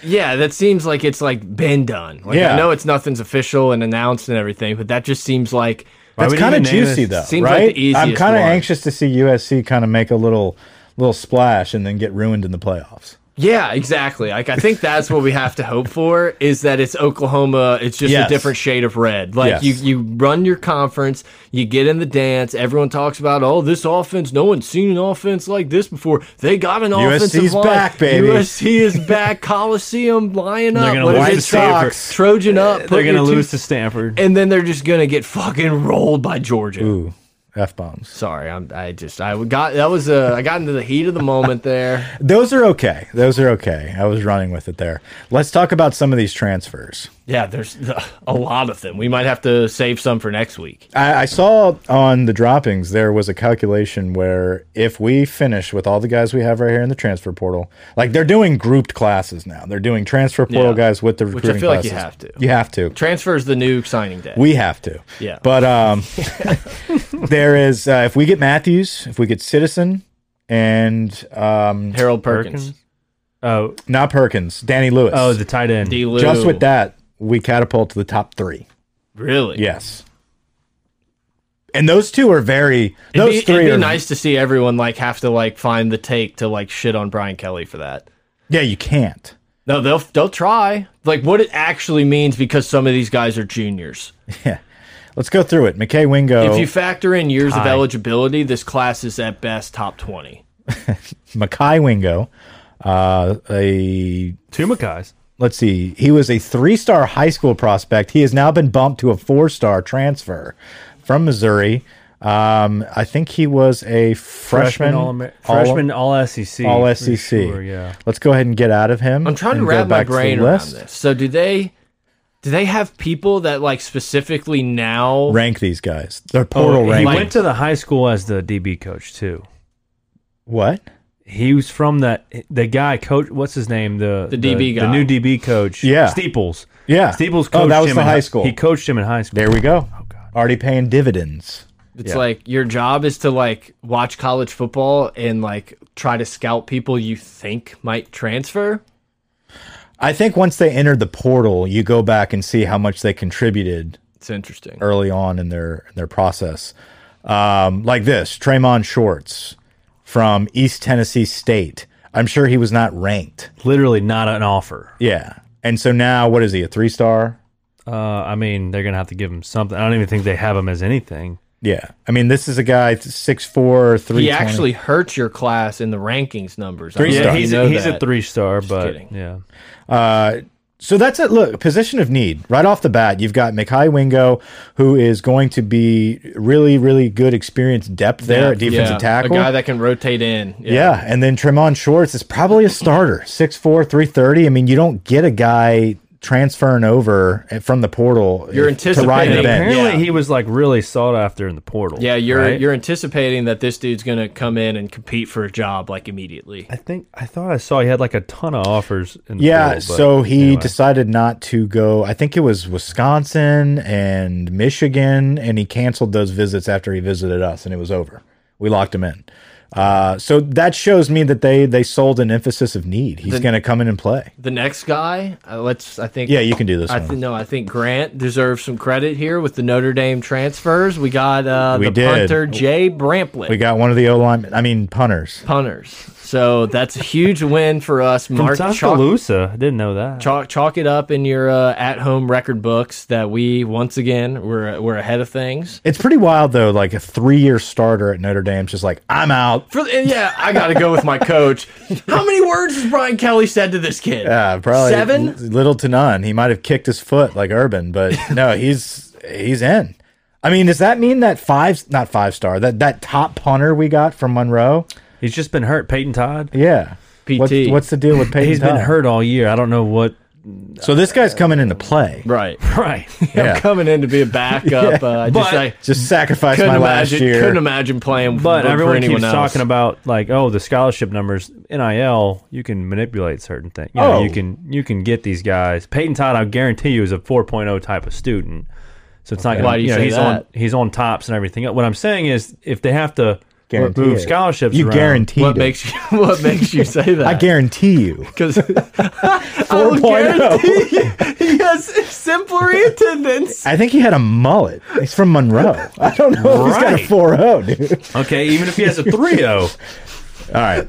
[SPEAKER 2] Yeah, that seems like it's like been done. Like
[SPEAKER 1] Yeah.
[SPEAKER 2] I know it's nothing's official and announced and everything, but that just seems like
[SPEAKER 1] That's
[SPEAKER 3] would you
[SPEAKER 1] kind of
[SPEAKER 3] even name
[SPEAKER 1] juicy
[SPEAKER 3] this?
[SPEAKER 1] though,
[SPEAKER 2] Seems like
[SPEAKER 1] right?
[SPEAKER 2] the
[SPEAKER 1] I'm
[SPEAKER 2] easiest
[SPEAKER 1] kind of
[SPEAKER 2] one.
[SPEAKER 1] anxious to see USC kind of make a little little splash and then get ruined in the playoffs.
[SPEAKER 2] Yeah, exactly. Like I think that's what we have to hope for is that it's Oklahoma. It's just
[SPEAKER 1] Yes.
[SPEAKER 2] a different shade of red. Like
[SPEAKER 1] Yes.
[SPEAKER 2] you, you run your conference, you get in the dance. Everyone talks about oh this offense. No one's seen an offense like this before. They got an offensive
[SPEAKER 1] USC's
[SPEAKER 2] line.
[SPEAKER 1] back, baby.
[SPEAKER 2] USC is back. Coliseum lining up.
[SPEAKER 3] They're gonna
[SPEAKER 2] What is
[SPEAKER 3] lose
[SPEAKER 2] it?
[SPEAKER 3] to
[SPEAKER 1] Stanford.
[SPEAKER 2] Sox. Trojan up. put
[SPEAKER 3] They're going to
[SPEAKER 2] your two-
[SPEAKER 3] lose to Stanford.
[SPEAKER 2] and then they're just gonna get fucking rolled by Georgia.
[SPEAKER 1] Ooh, f bombs.
[SPEAKER 2] Sorry, I'm, I just I got that was uh, I got into the heat of the moment there.
[SPEAKER 1] Those are okay. Those are okay. I was running with it there. Let's talk about some of these transfers.
[SPEAKER 2] Yeah, there's a lot of them. We might have to save some for next week.
[SPEAKER 1] I, I saw on the droppings there was a calculation where if we finish with all the guys we have right here in the transfer portal, like they're doing grouped classes now. They're doing transfer portal
[SPEAKER 2] Yeah.
[SPEAKER 1] guys with the
[SPEAKER 2] I
[SPEAKER 1] recruiting
[SPEAKER 2] feel like you
[SPEAKER 1] classes.
[SPEAKER 2] have to.
[SPEAKER 1] You have to.
[SPEAKER 2] Transfer's the new signing day.
[SPEAKER 1] We have to.
[SPEAKER 2] Yeah.
[SPEAKER 1] But um, there is uh, if we get Matthews, if we get Citizen, and um,
[SPEAKER 2] Harold Perkins,
[SPEAKER 3] Perkins? Oh,
[SPEAKER 1] not Perkins, Danny Lewis.
[SPEAKER 3] oh, the tight end.
[SPEAKER 2] D. Lou.
[SPEAKER 1] just with that, we catapult to the top three.
[SPEAKER 2] really.
[SPEAKER 1] Yes. And those two are very. Those
[SPEAKER 2] it'd be,
[SPEAKER 1] three
[SPEAKER 2] it'd be
[SPEAKER 1] are
[SPEAKER 2] nice to see everyone like have to like find the take to like shit on Brian Kelly for that.
[SPEAKER 1] Yeah, you can't.
[SPEAKER 2] No, they'll they'll try like what it actually means because some of these guys are juniors.
[SPEAKER 1] Yeah. Let's go through it. McKay Wingo,
[SPEAKER 2] If you factor in years of eligibility, this class is at best top twenty.
[SPEAKER 1] Mackay Wingo, uh, a
[SPEAKER 3] Two Mackays.
[SPEAKER 1] let's see, he was a three-star high school prospect. He has now been bumped to a four-star transfer from Missouri. Um, I think he was a freshman, E
[SPEAKER 3] Freshman All, freshman all SEC.
[SPEAKER 1] all,
[SPEAKER 3] for
[SPEAKER 1] SEC.
[SPEAKER 3] sure, yeah.
[SPEAKER 1] Let's go ahead and get out of him.
[SPEAKER 2] I'm trying to
[SPEAKER 1] and go
[SPEAKER 2] wrap my
[SPEAKER 1] back the
[SPEAKER 2] brain around
[SPEAKER 1] list.
[SPEAKER 2] this. So do they do they have people that like specifically now
[SPEAKER 1] Rank these guys. They're portal
[SPEAKER 3] Oh, he
[SPEAKER 1] rank.
[SPEAKER 3] went to the high school as the DB coach too.
[SPEAKER 1] what?
[SPEAKER 3] He was from that the guy coach. What's his name? The
[SPEAKER 2] The DB guy.
[SPEAKER 3] the new DB coach.
[SPEAKER 1] Yeah.
[SPEAKER 3] Steeples.
[SPEAKER 1] Yeah.
[SPEAKER 3] Steeples. Coached
[SPEAKER 1] Oh, that was
[SPEAKER 3] him
[SPEAKER 1] the
[SPEAKER 3] in
[SPEAKER 1] high school.
[SPEAKER 3] He coached him in high school.
[SPEAKER 1] There we go.
[SPEAKER 3] Oh, God.
[SPEAKER 1] Already paying dividends.
[SPEAKER 2] It's like your job is to like watch college football and like try to scout people you think might transfer.
[SPEAKER 1] I think once they enter the portal, you go back and see how much they contributed
[SPEAKER 2] It's interesting.
[SPEAKER 1] early on in their in their process. Um, like this, Tremon Shorts from East Tennessee State. I'm sure he was not ranked.
[SPEAKER 3] Literally not an offer.
[SPEAKER 1] Yeah. And so now, what is he? A three star?
[SPEAKER 3] Uh, I mean, they're gonna have to give him something. I don't even think they have him as anything.
[SPEAKER 1] Yeah. I mean, this is a guy six four three.
[SPEAKER 2] He actually hurts your class in the rankings numbers. I
[SPEAKER 1] Three
[SPEAKER 2] don't
[SPEAKER 1] star.
[SPEAKER 2] know if
[SPEAKER 3] he's
[SPEAKER 2] you know
[SPEAKER 3] he's a
[SPEAKER 2] that.
[SPEAKER 3] three star, but
[SPEAKER 2] kidding.
[SPEAKER 3] yeah,
[SPEAKER 1] Uh, So that's it. Look, position of need. Right off the bat, you've got Mikai Wingo, who is going to be really, really good experience depth there at defensive
[SPEAKER 2] Yeah,
[SPEAKER 1] tackle.
[SPEAKER 2] A guy that can rotate in.
[SPEAKER 1] Yeah, and then Tremon Shorts is probably a starter, 6'4", 330. I mean, you don't get a guy transferring over eh, from the portal.
[SPEAKER 2] You're
[SPEAKER 1] if- to ride the
[SPEAKER 2] anticipating-
[SPEAKER 1] bench.
[SPEAKER 3] apparently
[SPEAKER 2] Yeah.
[SPEAKER 3] he was like really sought after in the portal.
[SPEAKER 2] Yeah, you're
[SPEAKER 3] right?
[SPEAKER 2] you're anticipating that this dude's gonna come in and compete for a job like immediately.
[SPEAKER 3] I think I thought I saw he had like a ton of offers. In the
[SPEAKER 1] Yeah,
[SPEAKER 3] portal, but
[SPEAKER 1] so he
[SPEAKER 3] anyway.
[SPEAKER 1] decided not to go. I think it was Wisconsin and Michigan, and he canceled those visits after he visited us, and it was over. We locked him in. Uh, so that shows me that they they sold an emphasis of need. He's going to come in and play.
[SPEAKER 2] The next guy, uh, let's I think
[SPEAKER 1] Yeah, you can do this.
[SPEAKER 2] I
[SPEAKER 1] one.
[SPEAKER 2] th no, I think Grant deserves some credit here with the Notre Dame transfers. We got uh,
[SPEAKER 1] We
[SPEAKER 2] the
[SPEAKER 1] did.
[SPEAKER 2] punter Jay Bramplett.
[SPEAKER 1] we got one of the O linemen. I mean, punters.
[SPEAKER 2] punters. So that's a huge win for us.
[SPEAKER 3] from
[SPEAKER 2] Mark chalk,
[SPEAKER 3] Tuscaloosa, I didn't know that.
[SPEAKER 2] chalk chalk it up in your uh, at home record books that we once again we're we're ahead of things.
[SPEAKER 1] It's pretty wild though. Like a three-year starter at Notre Dame's just like I'm out.
[SPEAKER 2] For, and yeah, I got to go with my coach. How many words has Brian Kelly said to this kid?
[SPEAKER 1] Yeah, probably
[SPEAKER 2] Seven?
[SPEAKER 1] l- little to none. He might have kicked his foot like Urban, but no, he's he's in. I mean, does that mean that five not five star that that top punter we got from Monroe?
[SPEAKER 3] He's just been hurt. Peyton Todd.
[SPEAKER 1] Yeah,
[SPEAKER 2] PT.
[SPEAKER 1] What's, what's the deal with Peyton?
[SPEAKER 3] He's been
[SPEAKER 1] Todd?
[SPEAKER 3] hurt all year. I don't know what.
[SPEAKER 1] So this guy's coming into play.
[SPEAKER 2] Right.
[SPEAKER 3] Right.
[SPEAKER 1] Yeah,
[SPEAKER 2] I'm coming in to be a backup. Uh, just
[SPEAKER 3] But-
[SPEAKER 2] I
[SPEAKER 1] just sacrificed
[SPEAKER 2] couldn't
[SPEAKER 1] my last
[SPEAKER 2] imagine
[SPEAKER 1] year.
[SPEAKER 2] couldn't imagine playing
[SPEAKER 3] But
[SPEAKER 2] for, for
[SPEAKER 3] everyone
[SPEAKER 2] anyone
[SPEAKER 3] keeps
[SPEAKER 2] else.
[SPEAKER 3] talking about like, oh, the scholarship numbers, NIL. You can manipulate certain things. You know,
[SPEAKER 1] Oh.
[SPEAKER 3] you can you can get these guys. Peyton Todd, I guarantee you, is a 4.0 type of student. So it's not going
[SPEAKER 2] Why do you
[SPEAKER 3] know,
[SPEAKER 2] say
[SPEAKER 3] he's on
[SPEAKER 2] that?
[SPEAKER 3] he's on tops and everything. What I'm saying is, if they have to
[SPEAKER 1] Guarantee
[SPEAKER 3] move
[SPEAKER 1] it.
[SPEAKER 3] scholarships,
[SPEAKER 1] you
[SPEAKER 3] around,
[SPEAKER 1] guarantee.
[SPEAKER 2] what
[SPEAKER 1] it.
[SPEAKER 2] makes you what makes you say that?
[SPEAKER 1] I guarantee you.
[SPEAKER 2] because four
[SPEAKER 1] 4.0.
[SPEAKER 2] He has exemplary attendance.
[SPEAKER 1] I think he had a mullet. He's from Monroe. I don't know if he's got a
[SPEAKER 3] Right.
[SPEAKER 1] 4 0, dude.
[SPEAKER 3] Okay, even if he has a oh. 3-0,
[SPEAKER 1] All right.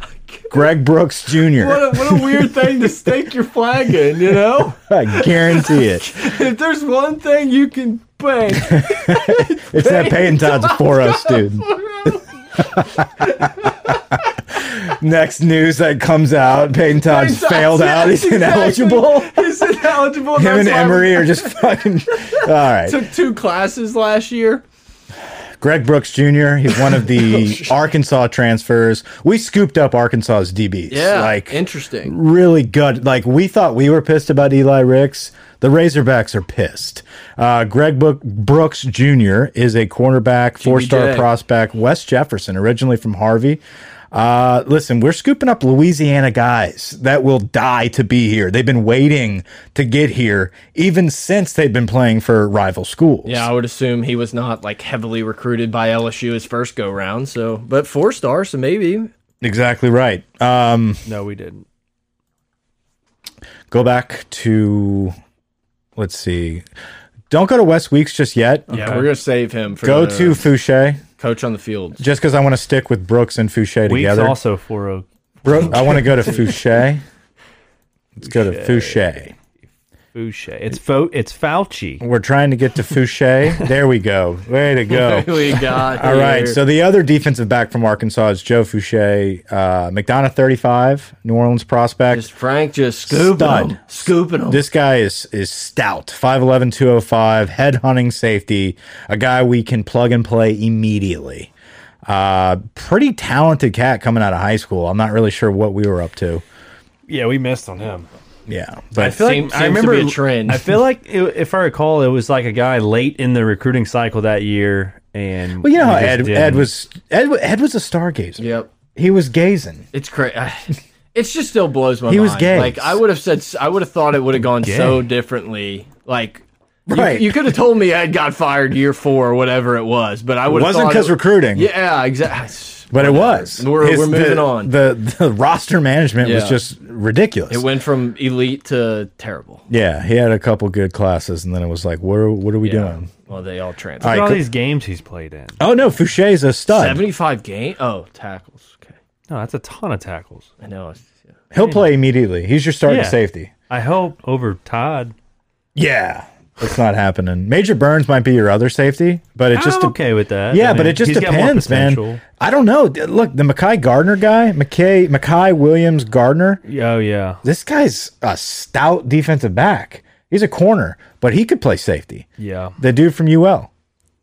[SPEAKER 1] Greg Brooks Jr.
[SPEAKER 2] What a, what a weird thing to stake your flag in, you know?
[SPEAKER 1] I guarantee it.
[SPEAKER 2] If there's one thing you can bank,
[SPEAKER 1] It's that Peyton Todd's a 4 0 student. Next news that comes out Peyton Todd's failed out. He's ineligible.
[SPEAKER 2] He's ineligible.
[SPEAKER 1] Him and
[SPEAKER 2] That's why we
[SPEAKER 1] Emory are just fucking. All right.
[SPEAKER 2] Took two classes last year.
[SPEAKER 1] Greg Brooks Jr., he's one of
[SPEAKER 2] Oh,
[SPEAKER 1] the Arkansas transfers. We scooped up Arkansas's DBs. Like,
[SPEAKER 2] interesting.
[SPEAKER 1] really good. Like we thought we were pissed about Eli Ricks. The Razorbacks are pissed. Uh, Greg Book Brooks Jr. is a cornerback, four-star prospect, West Jefferson, originally from Harvey. Uh, listen, we're scooping up Louisiana guys that will die to be here. They've been waiting to get here even since they've been playing for rival schools.
[SPEAKER 2] Yeah, I would assume he was not like heavily recruited by LSU his first go round. So, but four stars, so maybe
[SPEAKER 1] exactly right. Um,
[SPEAKER 3] no, we didn't.
[SPEAKER 1] go back to let's see. Don't go to West Weeks just yet.
[SPEAKER 2] yeah, we're gonna save him. For
[SPEAKER 1] Go
[SPEAKER 2] the
[SPEAKER 1] to Fouché.
[SPEAKER 2] coach on the field.
[SPEAKER 1] just because I want to stick with Brooks and Fouché
[SPEAKER 3] Weeks
[SPEAKER 1] together.
[SPEAKER 3] also 4-0.
[SPEAKER 1] Bro- I want to go to Fouché. Let's go to Fouché.
[SPEAKER 3] Fouché. It's fo it's Fauci.
[SPEAKER 1] We're trying to get to Fouché. There we go. Way to go.
[SPEAKER 2] we got
[SPEAKER 1] Oh. All right. So the other defensive back from Arkansas is Joe Fouché, uh, McDonough, 35, New Orleans prospect.
[SPEAKER 2] Just Frank just scooping
[SPEAKER 1] Stud.
[SPEAKER 2] them, scooping them.
[SPEAKER 1] This guy is is stout, 5'11", 205, head hunting oh safety, a guy we can plug and play immediately. Uh, pretty talented cat coming out of high school. I'm not really sure what we were up to.
[SPEAKER 3] Yeah, we missed on him.
[SPEAKER 1] Yeah, but
[SPEAKER 3] I feel like
[SPEAKER 2] Seem-
[SPEAKER 3] I
[SPEAKER 2] seems to
[SPEAKER 3] remember
[SPEAKER 2] be a trend.
[SPEAKER 3] I feel like it, if I recall, it was like a guy late in the recruiting cycle that year, and
[SPEAKER 1] Well, you know
[SPEAKER 3] we
[SPEAKER 1] how
[SPEAKER 3] just
[SPEAKER 1] Ed,
[SPEAKER 3] didn't.
[SPEAKER 1] Ed was Ed, wa- Ed was a stargazer.
[SPEAKER 2] Yep,
[SPEAKER 1] He was gazing.
[SPEAKER 2] it's crazy. It's just still blows my
[SPEAKER 1] He
[SPEAKER 2] mind.
[SPEAKER 1] was gay.
[SPEAKER 2] Like I would have said, s- I would have thought it would have gone so differently. Like. you-
[SPEAKER 1] Right.
[SPEAKER 2] You, could have told me Ed got fired year four or whatever it was, but I would
[SPEAKER 1] It
[SPEAKER 2] have
[SPEAKER 1] wasn't
[SPEAKER 2] thought
[SPEAKER 1] because
[SPEAKER 2] it-
[SPEAKER 1] recruiting.
[SPEAKER 2] Yeah, exactly.
[SPEAKER 1] But it was.
[SPEAKER 2] We're- we're moving
[SPEAKER 1] the,
[SPEAKER 2] on.
[SPEAKER 1] The, the roster management was
[SPEAKER 2] Yeah.
[SPEAKER 1] just ridiculous.
[SPEAKER 2] It went from elite to terrible.
[SPEAKER 1] yeah, he had a couple good classes, and then it was like, what are what are we doing?
[SPEAKER 2] Well, they all transferred.
[SPEAKER 1] All
[SPEAKER 3] Look at
[SPEAKER 1] right,
[SPEAKER 3] all
[SPEAKER 1] cool.
[SPEAKER 3] these games he's played in.
[SPEAKER 1] Oh no, Fouche's a stud.
[SPEAKER 2] 75 game. Oh, tackles. Okay.
[SPEAKER 3] No, that's a ton of tackles.
[SPEAKER 2] I know. it's- yeah.
[SPEAKER 1] He'll play immediately. He's your starting
[SPEAKER 3] Yeah.
[SPEAKER 1] safety.
[SPEAKER 3] I hope over Todd.
[SPEAKER 1] Yeah, it's not happening. Major Burns might be your other safety, but it just
[SPEAKER 3] Just
[SPEAKER 2] Ah,
[SPEAKER 1] de-
[SPEAKER 3] I'm okay with that.
[SPEAKER 1] yeah,
[SPEAKER 3] I
[SPEAKER 1] but
[SPEAKER 3] mean,
[SPEAKER 1] it just
[SPEAKER 3] he's got more
[SPEAKER 1] depends, man.
[SPEAKER 3] potential.
[SPEAKER 1] I don't know. D- Look, the Mackay Gardner guy, McKay Mackay Williams Gardner.
[SPEAKER 3] Oh yeah,
[SPEAKER 1] This guy's a stout defensive back. He's a corner, but he could play safety.
[SPEAKER 3] yeah.
[SPEAKER 1] the dude from UL.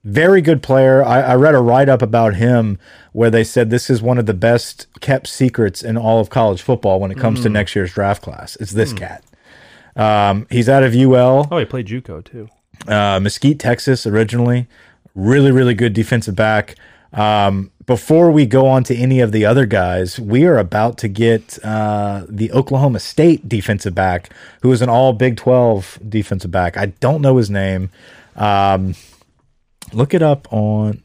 [SPEAKER 1] Very good player. I, I read a write up about him where they said this is one of the best kept secrets in all of college football when it comes to next year's draft class. It's this cat. Um, he's out of UL,
[SPEAKER 3] Oh, he played JUCO too.
[SPEAKER 1] uh, Mesquite, Texas, originally. Really, really good defensive back. Um, before we go on to any of the other guys, we are about to get uh, the Oklahoma State defensive back, who is an all Big 12 defensive back. I don't know his name. Um, look it up on.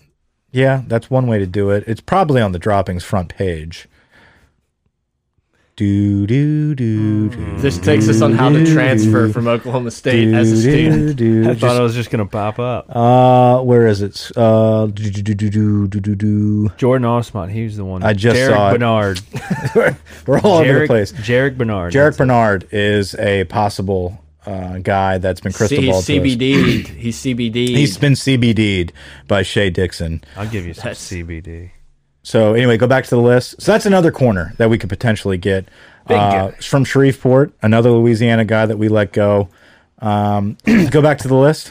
[SPEAKER 1] Yeah, that's one way to do it. It's probably on the droppings front page. Do do do do.
[SPEAKER 2] This takes us on how to transfer from Oklahoma State as a student.
[SPEAKER 1] do,
[SPEAKER 3] I
[SPEAKER 1] do.
[SPEAKER 3] thought I was just gonna pop up.
[SPEAKER 1] Uh, where is it? Uh, do do do do do do do do.
[SPEAKER 3] Jordan Osmond, he was the one.
[SPEAKER 1] I just
[SPEAKER 3] Jarek
[SPEAKER 1] saw it.
[SPEAKER 3] Bernard.
[SPEAKER 1] We're all over the
[SPEAKER 3] Jarek,
[SPEAKER 1] place.
[SPEAKER 3] Jarek Bernard.
[SPEAKER 1] Jarek Bernard is a possible uh, guy that's been crystal
[SPEAKER 2] See, he's
[SPEAKER 1] ball to us.
[SPEAKER 2] CBD. He's CBD.
[SPEAKER 1] He's been CBD'd by Shea Dixon.
[SPEAKER 3] I'll give you some
[SPEAKER 2] That's-
[SPEAKER 3] CBD.
[SPEAKER 1] So anyway, go back to the list. So that's another corner that we could potentially get uh,
[SPEAKER 2] guy.
[SPEAKER 1] from Shreveport, another Louisiana guy that we let go. Um, go back to the list.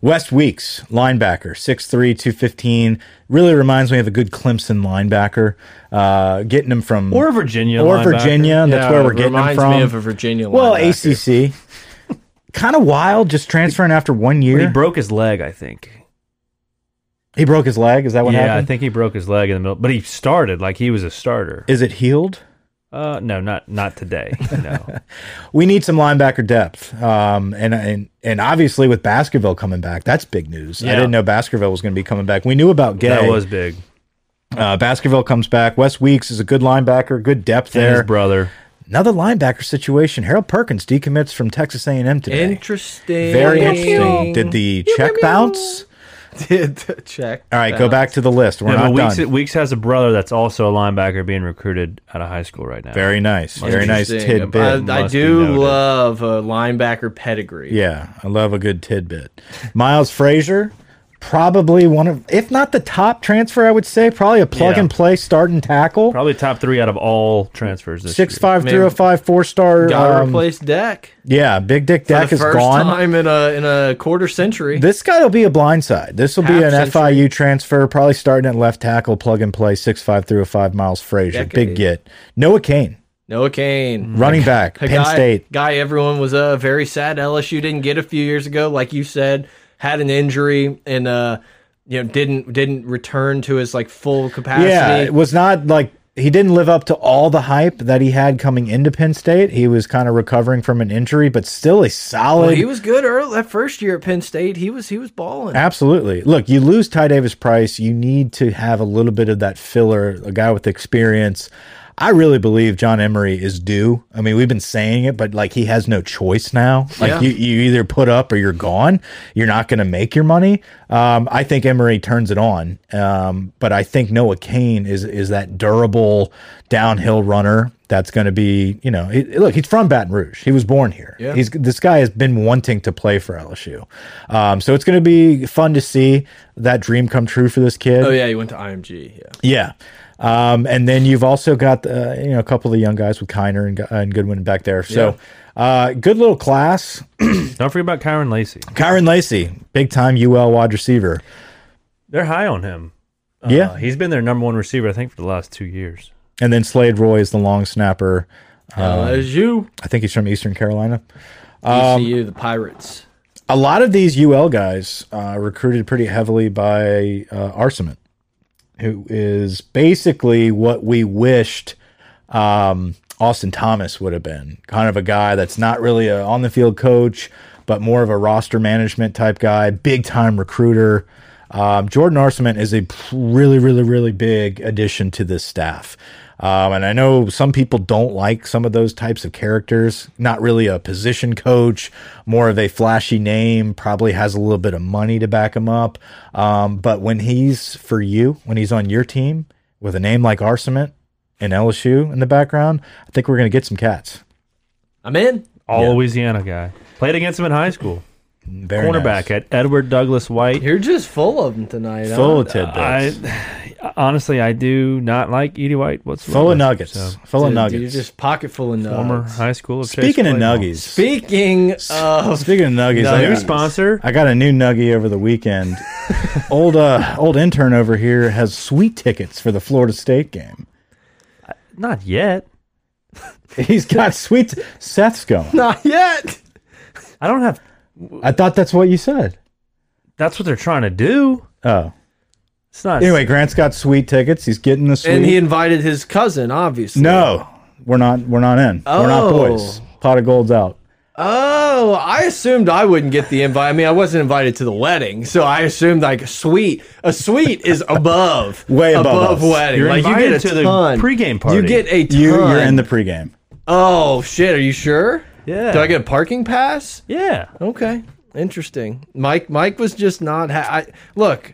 [SPEAKER 1] West Weeks, linebacker, 6'3", 215. Really reminds me of a good Clemson linebacker. Uh, getting him from
[SPEAKER 3] Or Virginia.
[SPEAKER 1] or
[SPEAKER 3] linebacker.
[SPEAKER 1] Virginia. That's
[SPEAKER 2] Yeah,
[SPEAKER 1] where we're getting him
[SPEAKER 2] reminds
[SPEAKER 1] from.
[SPEAKER 2] me of a Virginia
[SPEAKER 1] well,
[SPEAKER 2] linebacker.
[SPEAKER 1] ACC. kind of wild, just transferring after one year.
[SPEAKER 3] He broke his leg, I think.
[SPEAKER 1] He broke his leg. Is that what
[SPEAKER 3] yeah,
[SPEAKER 1] happened?
[SPEAKER 3] I think he broke his leg in the middle, but he started like he was a starter.
[SPEAKER 1] Is it healed?
[SPEAKER 3] Uh, no, not not today. No,
[SPEAKER 1] we need some linebacker depth. Um, and and and obviously with Baskerville coming back, that's big news. I
[SPEAKER 3] Yeah.
[SPEAKER 1] didn't know Baskerville was going to be coming back. We knew about Gay.
[SPEAKER 3] that was big.
[SPEAKER 1] uh, Baskerville comes back. Wes Weeks is a good linebacker, good depth
[SPEAKER 3] And his
[SPEAKER 1] there.
[SPEAKER 3] brother.
[SPEAKER 1] Another linebacker situation. Harold Perkins decommits from Texas A&M today.
[SPEAKER 2] Interesting.
[SPEAKER 1] Very interesting. Did the check bounce?
[SPEAKER 2] Did the check.
[SPEAKER 1] All right, go back to the list. We're
[SPEAKER 3] No, but
[SPEAKER 1] not
[SPEAKER 3] Weeks,
[SPEAKER 1] done.
[SPEAKER 3] Weeks has a brother that's also a linebacker being recruited out of high school right now.
[SPEAKER 1] Very nice. Very nice
[SPEAKER 2] Interesting.
[SPEAKER 1] tidbit.
[SPEAKER 2] I, I
[SPEAKER 3] must be
[SPEAKER 2] do
[SPEAKER 3] noted.
[SPEAKER 2] love a linebacker pedigree.
[SPEAKER 1] Yeah, I love a good tidbit. Miles Frazier, probably one of, if not the top transfer, I would say, probably a plug
[SPEAKER 3] Yeah.
[SPEAKER 1] and play starting tackle.
[SPEAKER 3] Probably top three out of all transfers this
[SPEAKER 1] Six
[SPEAKER 3] year.
[SPEAKER 1] five three oh five four star.
[SPEAKER 2] Gotta
[SPEAKER 1] um,
[SPEAKER 2] replace Deck.
[SPEAKER 1] yeah, Big Dick
[SPEAKER 2] For
[SPEAKER 1] Deck
[SPEAKER 2] the
[SPEAKER 1] is
[SPEAKER 2] first
[SPEAKER 1] gone.
[SPEAKER 2] time in a in a quarter century.
[SPEAKER 1] This guy will be a blindside. This will be
[SPEAKER 2] Half
[SPEAKER 1] an
[SPEAKER 2] century.
[SPEAKER 1] FIU transfer, probably starting at left tackle, plug and play, six five three oh five. Miles Frazier, big
[SPEAKER 2] Decade.
[SPEAKER 1] get. Noah Kane,
[SPEAKER 2] Noah Kane.
[SPEAKER 1] running back,
[SPEAKER 2] A
[SPEAKER 1] Penn
[SPEAKER 2] guy,
[SPEAKER 1] State.
[SPEAKER 2] guy everyone was uh, very sad LSU didn't get a few years ago, like you said, had an injury and uh you know didn't didn't return to his like full capacity.
[SPEAKER 1] Yeah, it was not like he didn't live up to all the hype that he had coming into Penn State. He was kind of recovering from an injury, but still a solid.
[SPEAKER 2] Well, he was good early that first year at Penn State. He was he was balling.
[SPEAKER 1] Absolutely. Look, you lose Ty Davis Price. You need to have a little bit of that filler, a guy with experience. I really believe John Emery is due. I mean, we've been saying it, but like he has no choice now. Like
[SPEAKER 2] Yeah.
[SPEAKER 1] you, you either put up or you're gone. You're not going to make your money. Um, I think Emery turns it on, um, but I think Noah Kane is is that durable downhill runner that's going to be. You know, he, look, he's from Baton Rouge. He was born here.
[SPEAKER 2] Yeah.
[SPEAKER 1] He's this guy has been wanting to play for LSU, um, so it's going to be fun to see that dream come true for this kid.
[SPEAKER 2] Oh yeah, he went to IMG. Yeah.
[SPEAKER 1] Yeah. Um, and then you've also got uh, you know a couple of the young guys with Kiner and, Gu- and Goodwin back there. So uh, good little class.
[SPEAKER 3] Don't forget about Kyron Lacey.
[SPEAKER 1] Kyron Lacey, big time UL wide receiver.
[SPEAKER 3] They're high on him.
[SPEAKER 2] Oh,
[SPEAKER 3] Uh,
[SPEAKER 1] Yeah.
[SPEAKER 3] he's been their number one receiver, I think, for the last two years.
[SPEAKER 1] And then Slade Roy is the long snapper. Oh,
[SPEAKER 2] LSU,
[SPEAKER 1] I think he's from Eastern Carolina. Um,
[SPEAKER 2] ECU, E the Pirates.
[SPEAKER 1] A lot of these UL guys uh, recruited pretty heavily by uh, Arcement, who is basically what we wished um, Austin Thomas would have been. Kind of a guy that's not really a on the field coach, but more of a roster management type guy, big time recruiter. Um, Jordan Arcement is a p- really, really, really big addition to this staff. Um, and I know some people don't like some of those types of characters. Not really a position coach, more of a flashy name, probably has a little bit of money to back him up. Um, but when he's for you, when he's on your team with a name like Arcement and LSU in the background, I think we're going to get some cats.
[SPEAKER 2] I'm in.
[SPEAKER 3] All Louisiana guy. Played against him in high school.
[SPEAKER 1] Very nice.
[SPEAKER 3] Cornerback at Edward Douglas White.
[SPEAKER 2] You're just full of them tonight. huh?
[SPEAKER 1] Full of tidbits.
[SPEAKER 3] I honestly I do not like Edie White whatsoever.
[SPEAKER 1] full of nuggets. full of
[SPEAKER 2] Dude,
[SPEAKER 1] nuggets.
[SPEAKER 2] You're just pocket full of nuggets.
[SPEAKER 3] Former high school. Of Chase
[SPEAKER 1] Speaking of
[SPEAKER 3] Claypool.
[SPEAKER 1] nuggies.
[SPEAKER 2] Speaking of,
[SPEAKER 1] Speaking of nuggies,
[SPEAKER 3] Our
[SPEAKER 1] I,
[SPEAKER 3] new
[SPEAKER 1] got,
[SPEAKER 3] sponsor.
[SPEAKER 1] I got a new nuggie over the weekend. old uh, old intern over here has sweet tickets for the Florida State game.
[SPEAKER 3] Not yet.
[SPEAKER 1] He's got sweet. Seth's going.
[SPEAKER 2] not yet.
[SPEAKER 3] I don't have.
[SPEAKER 1] I thought that's what you said.
[SPEAKER 3] That's what they're trying to do.
[SPEAKER 1] Oh,
[SPEAKER 3] It's not.
[SPEAKER 1] anyway, Grant's got sweet tickets. He's getting the sweet.
[SPEAKER 2] And he invited his cousin, obviously.
[SPEAKER 1] no, we're not. We're not in. We're not
[SPEAKER 2] Oh.
[SPEAKER 1] boys. Pot of gold's out.
[SPEAKER 2] Oh, I assumed I wouldn't get the invite. I mean, I wasn't invited to the wedding, so I assumed like a suite. A suite is above,
[SPEAKER 1] Way above us.
[SPEAKER 2] wedding.
[SPEAKER 3] You're
[SPEAKER 2] like you
[SPEAKER 3] invited
[SPEAKER 2] get a
[SPEAKER 3] to the
[SPEAKER 2] ton.
[SPEAKER 3] pregame party.
[SPEAKER 2] You get a ton.
[SPEAKER 1] You you're in the pregame.
[SPEAKER 2] Oh shit! Are you sure?
[SPEAKER 3] Yeah.
[SPEAKER 2] Do I get a parking pass?
[SPEAKER 3] Yeah.
[SPEAKER 2] Okay, interesting. Mike, Mike was just not. Ha I, look,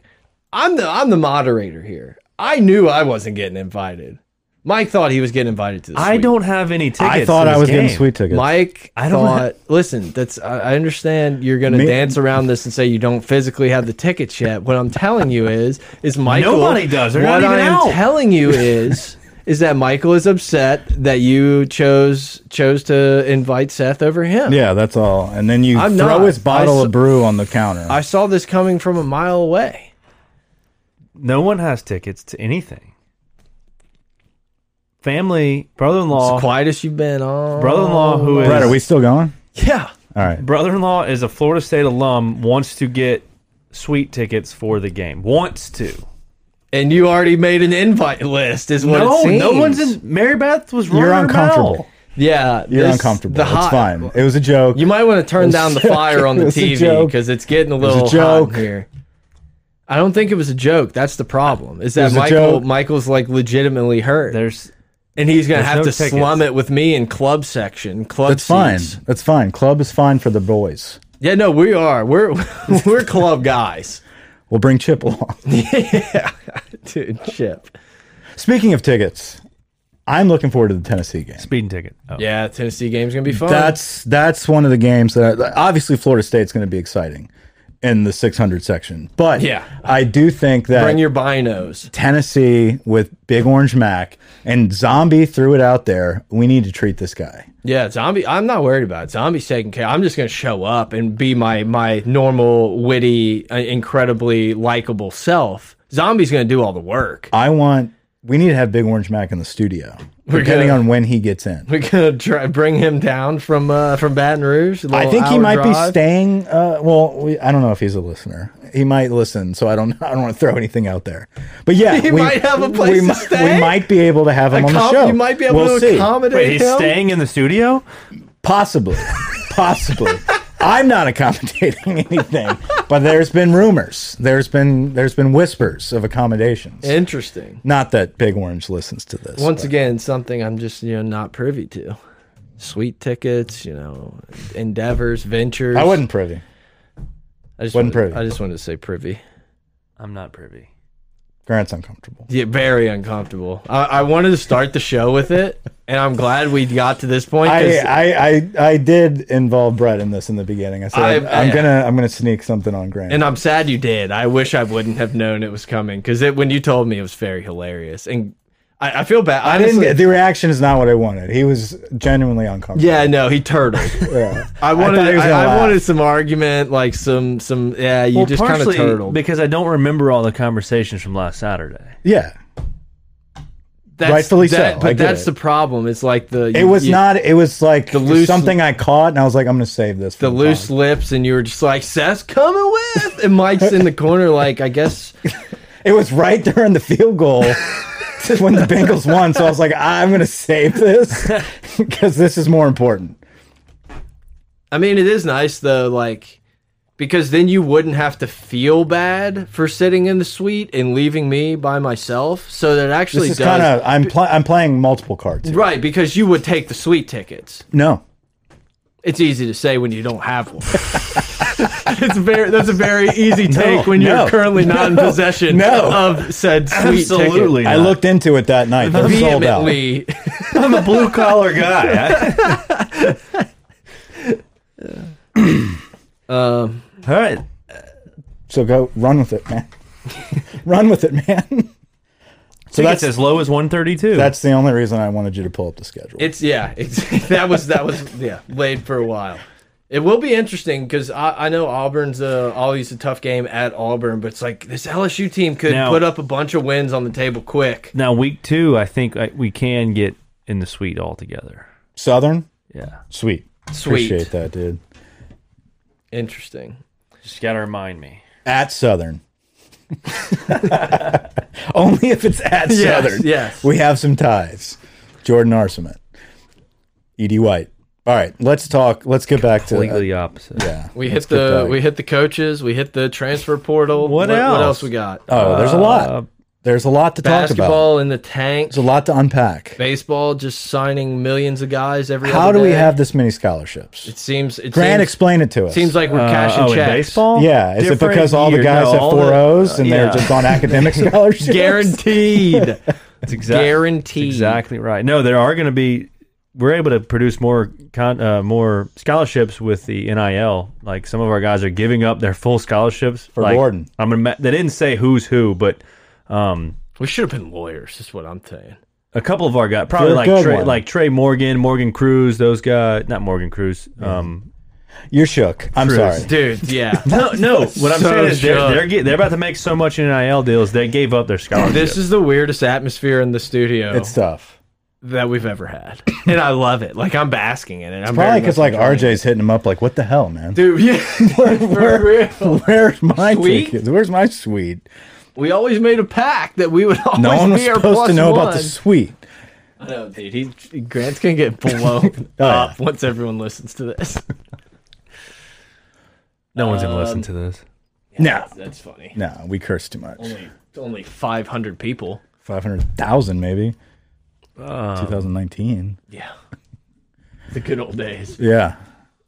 [SPEAKER 2] I'm the I'm the moderator here. I knew I wasn't getting invited. Mike thought he was getting invited to the.
[SPEAKER 3] I
[SPEAKER 2] suite.
[SPEAKER 3] don't have any tickets.
[SPEAKER 1] I thought
[SPEAKER 3] to
[SPEAKER 1] I
[SPEAKER 3] this
[SPEAKER 1] was
[SPEAKER 3] game.
[SPEAKER 1] getting sweet tickets.
[SPEAKER 2] Mike, I
[SPEAKER 3] I
[SPEAKER 2] don't
[SPEAKER 3] don't
[SPEAKER 2] thought, listen. That's I I understand you're gonna
[SPEAKER 1] Me-
[SPEAKER 2] dance around this and say you don't physically have the tickets yet. What I'm telling you is, is Michael.
[SPEAKER 3] Nobody does. They're
[SPEAKER 2] what
[SPEAKER 3] not even
[SPEAKER 2] I am
[SPEAKER 3] out.
[SPEAKER 2] telling you is, is that Michael is upset that you chose chose to invite Seth over him.
[SPEAKER 1] yeah, that's all. And then you
[SPEAKER 2] I'm
[SPEAKER 1] throw
[SPEAKER 2] not.
[SPEAKER 1] his bottle
[SPEAKER 2] I
[SPEAKER 1] of brew on the counter.
[SPEAKER 2] I saw this coming from a mile away.
[SPEAKER 3] No one has tickets to anything. Family, brother-in-law,
[SPEAKER 2] It's the quietest you've been on.
[SPEAKER 3] brother-in-law who is
[SPEAKER 1] Brett, are we still going?
[SPEAKER 2] Yeah.
[SPEAKER 1] All right.
[SPEAKER 3] brother-in-law is a Florida State alum wants to get sweet tickets for the game. Wants to.
[SPEAKER 2] And you already made an invite list, is what it
[SPEAKER 3] no,
[SPEAKER 2] seems.
[SPEAKER 3] no one's in. Mary Beth was running
[SPEAKER 1] You're
[SPEAKER 3] her
[SPEAKER 1] uncomfortable.
[SPEAKER 3] mouth.
[SPEAKER 2] Yeah.
[SPEAKER 1] You're
[SPEAKER 2] this-
[SPEAKER 1] uncomfortable.
[SPEAKER 2] The
[SPEAKER 1] it's
[SPEAKER 2] hot,
[SPEAKER 1] fine. It was a joke.
[SPEAKER 2] You might want to turn down the
[SPEAKER 1] a joke.
[SPEAKER 2] fire on
[SPEAKER 1] It
[SPEAKER 2] the
[SPEAKER 1] was a
[SPEAKER 2] TV
[SPEAKER 1] joke.
[SPEAKER 2] because it's getting a
[SPEAKER 1] was a
[SPEAKER 2] little
[SPEAKER 1] joke.
[SPEAKER 2] hot in here. I don't think it was a joke. That's the problem. Is that
[SPEAKER 1] was a
[SPEAKER 2] Michael?
[SPEAKER 1] joke.
[SPEAKER 2] Michael's like legitimately hurt,
[SPEAKER 3] There's
[SPEAKER 2] and he's gonna
[SPEAKER 3] there's
[SPEAKER 2] have
[SPEAKER 3] no
[SPEAKER 2] to
[SPEAKER 3] tickets.
[SPEAKER 2] slum it with me in club section. Club
[SPEAKER 1] That's fine.
[SPEAKER 2] seats.
[SPEAKER 1] That's fine. Club is fine for the boys.
[SPEAKER 2] Yeah, no, we are. We're we're club guys,
[SPEAKER 1] We'll bring Chip along.
[SPEAKER 2] dude. Chip.
[SPEAKER 1] Speaking of tickets, I'm looking forward to the Tennessee game.
[SPEAKER 3] speeding ticket. Oh.
[SPEAKER 2] Yeah, Tennessee game's gonna be fun.
[SPEAKER 1] That's that's one of the games that obviously Florida State's going to be exciting in the 600 section. But
[SPEAKER 2] Yeah.
[SPEAKER 1] I do think that
[SPEAKER 2] bring your binos.
[SPEAKER 1] Tennessee with Big Orange Mac and Zombie threw it out there. We need to treat this guy.
[SPEAKER 2] Yeah, zombie. I'm not worried about it. Zombie's taking care. I'm just gonna show up and be my my normal, witty, uh, incredibly likable self. Zombie's gonna do all the work.
[SPEAKER 1] I want. We need to have Big Orange Mac in the studio, depending
[SPEAKER 2] gonna-
[SPEAKER 1] on when he gets in.
[SPEAKER 2] We're gonna try bring him down from uh, from Baton Rouge. a
[SPEAKER 1] I
[SPEAKER 2] little
[SPEAKER 1] think he
[SPEAKER 2] hour
[SPEAKER 1] might be
[SPEAKER 2] drive.
[SPEAKER 1] staying. Uh, well, we, I don't know if he's a listener. He might listen, so I don't. I don't want to throw anything out there. But yeah,
[SPEAKER 2] He might have a place
[SPEAKER 1] we,
[SPEAKER 2] to
[SPEAKER 1] mi-
[SPEAKER 2] stay?
[SPEAKER 1] We might be able to have him on the
[SPEAKER 2] Com-
[SPEAKER 1] show.
[SPEAKER 2] You might be able
[SPEAKER 1] We'll
[SPEAKER 2] to
[SPEAKER 1] see.
[SPEAKER 2] accommodate
[SPEAKER 3] Wait, he's
[SPEAKER 2] him.
[SPEAKER 3] staying in the studio?
[SPEAKER 1] Possibly, possibly. I'm not accommodating anything, but there's been rumors. There's been there's been whispers of accommodations.
[SPEAKER 2] Interesting.
[SPEAKER 1] not that Big Orange listens to this.
[SPEAKER 2] Once
[SPEAKER 1] but-
[SPEAKER 2] again, something I'm just you know not privy to. Sweet tickets, you know, endeavors, ventures.
[SPEAKER 1] I wasn't privy.
[SPEAKER 2] I just
[SPEAKER 1] wasn't
[SPEAKER 2] wanted,
[SPEAKER 1] privy.
[SPEAKER 2] I just wanted to say privy.
[SPEAKER 3] I'm not privy.
[SPEAKER 1] Grant's uncomfortable.
[SPEAKER 2] Yeah, very uncomfortable. I, I wanted to start the show with it, and I'm glad we got to this point. 'cause-
[SPEAKER 1] I, I, I I did involve Brett in this in the beginning. I said I, am
[SPEAKER 2] I- I-
[SPEAKER 1] gonna I'm gonna sneak something on Grant.
[SPEAKER 2] and I'm sad you did. I wish I wouldn't have known it was coming because it when you told me it was very hilarious, and I, I feel bad.
[SPEAKER 1] I didn't
[SPEAKER 2] Honestly,
[SPEAKER 1] get the reaction is not what I wanted. He was genuinely uncomfortable.
[SPEAKER 2] Yeah, no, he turtled.
[SPEAKER 1] Yeah.
[SPEAKER 2] I wanted,
[SPEAKER 1] thought he was
[SPEAKER 2] I,
[SPEAKER 1] gonna
[SPEAKER 2] I
[SPEAKER 1] laugh.
[SPEAKER 2] wanted some argument, like some, some. Yeah, you
[SPEAKER 3] Well,
[SPEAKER 2] just kind of
[SPEAKER 3] partially
[SPEAKER 2] turtled.
[SPEAKER 3] because I don't remember all the conversations from last Saturday.
[SPEAKER 1] Yeah.
[SPEAKER 2] That's,
[SPEAKER 1] rightfully so,
[SPEAKER 2] that-
[SPEAKER 1] I
[SPEAKER 2] But
[SPEAKER 1] get
[SPEAKER 2] that's
[SPEAKER 1] it.
[SPEAKER 2] the problem. It's like the
[SPEAKER 1] It was not it was like
[SPEAKER 2] loose-
[SPEAKER 1] something I caught and I was like, I'm gonna save this for
[SPEAKER 2] the loose lips, and you were just like, "Seth's coming with," and Mike's in the corner, like, I guess.
[SPEAKER 1] pod. It was right during the field goal when the Bengals won. So I was like, I'm gonna save this because this is more important.
[SPEAKER 2] I mean, it is nice though. Like, because then you wouldn't have to feel bad for sitting in the suite and leaving me by myself. So that actually
[SPEAKER 1] This is
[SPEAKER 2] does
[SPEAKER 1] kind of I'm pl I'm playing multiple cards. here.
[SPEAKER 2] right because you would take the suite tickets.
[SPEAKER 1] No,
[SPEAKER 2] It's easy to say when you don't have one. it's very that's a very easy take when you're
[SPEAKER 1] no,
[SPEAKER 2] currently not in possession
[SPEAKER 1] no.
[SPEAKER 2] of said suite ticket.
[SPEAKER 4] Absolutely.
[SPEAKER 1] I
[SPEAKER 4] not.
[SPEAKER 1] looked into it that night. They're sold out.
[SPEAKER 2] Vehemently,
[SPEAKER 4] I'm a blue collar guy.
[SPEAKER 2] um,
[SPEAKER 4] All right.
[SPEAKER 1] So go run with it, man. run with it, man.
[SPEAKER 4] So
[SPEAKER 1] that's-
[SPEAKER 4] that's as low as 132.
[SPEAKER 1] That's the only reason I wanted you to pull up the schedule.
[SPEAKER 2] it's yeah. It's, that was that was yeah laid for a while. It will be interesting because I, I know Auburn's uh, always a tough game at Auburn, but it's like this LSU team could
[SPEAKER 3] Now-
[SPEAKER 2] put up a bunch of wins on the table quick.
[SPEAKER 3] Now week two, I think I, we can get in the suite altogether.
[SPEAKER 1] Southern,
[SPEAKER 3] Yeah,
[SPEAKER 1] sweet.
[SPEAKER 2] Sweet.
[SPEAKER 1] Appreciate that, dude.
[SPEAKER 2] Interesting.
[SPEAKER 3] just gotta remind me.
[SPEAKER 1] At Southern. only if it's at
[SPEAKER 2] Yes,
[SPEAKER 1] Southern.
[SPEAKER 2] yes.
[SPEAKER 1] We have some ties. Jordan Arcement, Edie White. All right, let's talk. Let's get back to.
[SPEAKER 3] Completely opposite.
[SPEAKER 1] Uh, yeah,
[SPEAKER 2] We
[SPEAKER 1] let's
[SPEAKER 2] hit
[SPEAKER 1] get
[SPEAKER 2] the
[SPEAKER 1] back.
[SPEAKER 2] we hit the coaches. We hit the transfer portal.
[SPEAKER 4] What
[SPEAKER 2] What
[SPEAKER 4] else?
[SPEAKER 2] else we got?
[SPEAKER 1] Oh, there's a
[SPEAKER 3] Uh,
[SPEAKER 1] lot. There's a lot to talk about.
[SPEAKER 2] Basketball in the tank.
[SPEAKER 1] There's a lot to unpack.
[SPEAKER 2] Baseball just signing millions of guys every.
[SPEAKER 1] How
[SPEAKER 2] other
[SPEAKER 1] do we
[SPEAKER 2] day.
[SPEAKER 1] have this many scholarships?
[SPEAKER 2] It seems. It
[SPEAKER 1] Grant,
[SPEAKER 2] seems,
[SPEAKER 1] explain it to us.
[SPEAKER 2] seems like we're
[SPEAKER 3] uh,
[SPEAKER 2] cashing
[SPEAKER 3] oh, in
[SPEAKER 2] checks.
[SPEAKER 3] baseball?
[SPEAKER 1] yeah, is it
[SPEAKER 3] Different
[SPEAKER 1] because all the
[SPEAKER 3] year.
[SPEAKER 1] guys
[SPEAKER 3] No,
[SPEAKER 1] have
[SPEAKER 3] all
[SPEAKER 1] four
[SPEAKER 3] the-
[SPEAKER 1] O's and
[SPEAKER 3] yeah.
[SPEAKER 1] they're just on academic scholarships?
[SPEAKER 2] Guaranteed.
[SPEAKER 3] That's exact-
[SPEAKER 2] Guaranteed.
[SPEAKER 3] Exactly right. No, there are going to be. We're able to produce more con, uh, more scholarships with the NIL. Like some of our guys are giving up their full scholarships for
[SPEAKER 1] Gordon.
[SPEAKER 3] I'm gonna. ma- They didn't say who's who, but um,
[SPEAKER 2] We should have been lawyers. Is what I'm saying.
[SPEAKER 3] a couple of our guys, probably
[SPEAKER 1] Good-
[SPEAKER 3] like
[SPEAKER 1] good
[SPEAKER 3] Trey,
[SPEAKER 1] one.
[SPEAKER 3] like Trey Morgan, Morgan Cruz, those guys. Not Morgan Cruz. Um,
[SPEAKER 1] You're shook. I'm sorry.
[SPEAKER 2] Dude, yeah.
[SPEAKER 3] no, no. What I'm
[SPEAKER 2] So
[SPEAKER 3] saying is they're
[SPEAKER 2] shook.
[SPEAKER 3] they're, get, they're about to make so much in NIL deals they gave up their scholarships.
[SPEAKER 2] This is the weirdest atmosphere in the studio
[SPEAKER 1] It's tough.
[SPEAKER 2] that we've ever had, and I love it. Like I'm basking in it. I'm
[SPEAKER 1] Probably
[SPEAKER 2] very
[SPEAKER 1] because
[SPEAKER 2] much
[SPEAKER 1] like
[SPEAKER 2] enjoying it.
[SPEAKER 1] RJ's hitting him up like, what the hell, man?
[SPEAKER 2] Dude, yeah, for real.
[SPEAKER 1] Where's my
[SPEAKER 2] Sweet?
[SPEAKER 1] tickets? Where's my suite?
[SPEAKER 2] We always made a pact that we would always
[SPEAKER 1] No one was
[SPEAKER 2] be our
[SPEAKER 1] supposed
[SPEAKER 2] plus
[SPEAKER 1] to know
[SPEAKER 2] one.
[SPEAKER 1] about the suite.
[SPEAKER 2] I know, dude. He, Grant's gonna get
[SPEAKER 1] Oh,
[SPEAKER 2] blown up once everyone listens to this.
[SPEAKER 3] no one's gonna listen to this.
[SPEAKER 1] No,
[SPEAKER 2] That's funny.
[SPEAKER 1] no, we curse too much.
[SPEAKER 2] Only, only 500 people.
[SPEAKER 1] Five hundred thousand, maybe. Oh. 2019.
[SPEAKER 2] Yeah. The good old days.
[SPEAKER 1] Yeah.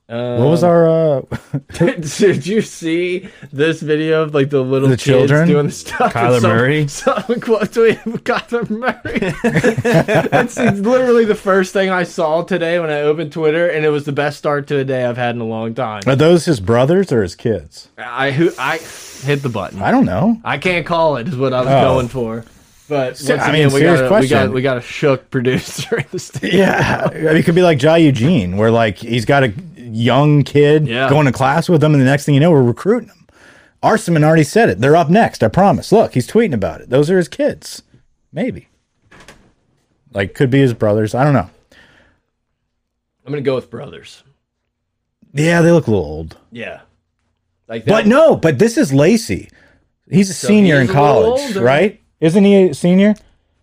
[SPEAKER 1] what was our uh,
[SPEAKER 2] Did you see this video of like the little
[SPEAKER 1] The
[SPEAKER 2] kids
[SPEAKER 1] children?
[SPEAKER 2] doing the stuff?
[SPEAKER 3] Kyler
[SPEAKER 2] And some-
[SPEAKER 3] Murray?
[SPEAKER 2] Someone quote tweeted Kyler Murray. That's literally the first thing I saw today when I opened Twitter, and it was the best start to a day I've had in a long time.
[SPEAKER 1] are those his brothers or his kids?
[SPEAKER 2] I who I hit the button.
[SPEAKER 1] I don't know.
[SPEAKER 2] I can't call it is what I was
[SPEAKER 1] Oh.
[SPEAKER 2] going for. But once
[SPEAKER 1] Se- I mean,
[SPEAKER 2] again, we
[SPEAKER 1] serious
[SPEAKER 2] got, a, we got
[SPEAKER 1] question.
[SPEAKER 2] we got a shook producer in the studio.
[SPEAKER 1] Yeah, I mean, it could be like Jai Eugene, where like he's got a young kid
[SPEAKER 2] Yeah.
[SPEAKER 1] going to class with him, and the next thing you know, we're recruiting him. Arseman already said it. They're up next. I promise. Look, he's tweeting about it. Those are his kids. Maybe. Like, could be his brothers. I don't know.
[SPEAKER 2] I'm gonna go with brothers.
[SPEAKER 1] Yeah, they look a little old.
[SPEAKER 2] Yeah, like that.
[SPEAKER 1] But no, but this is Lacey. He's a senior
[SPEAKER 2] he
[SPEAKER 1] in
[SPEAKER 2] is a little
[SPEAKER 1] college,
[SPEAKER 2] older.
[SPEAKER 1] right? Isn't he a senior?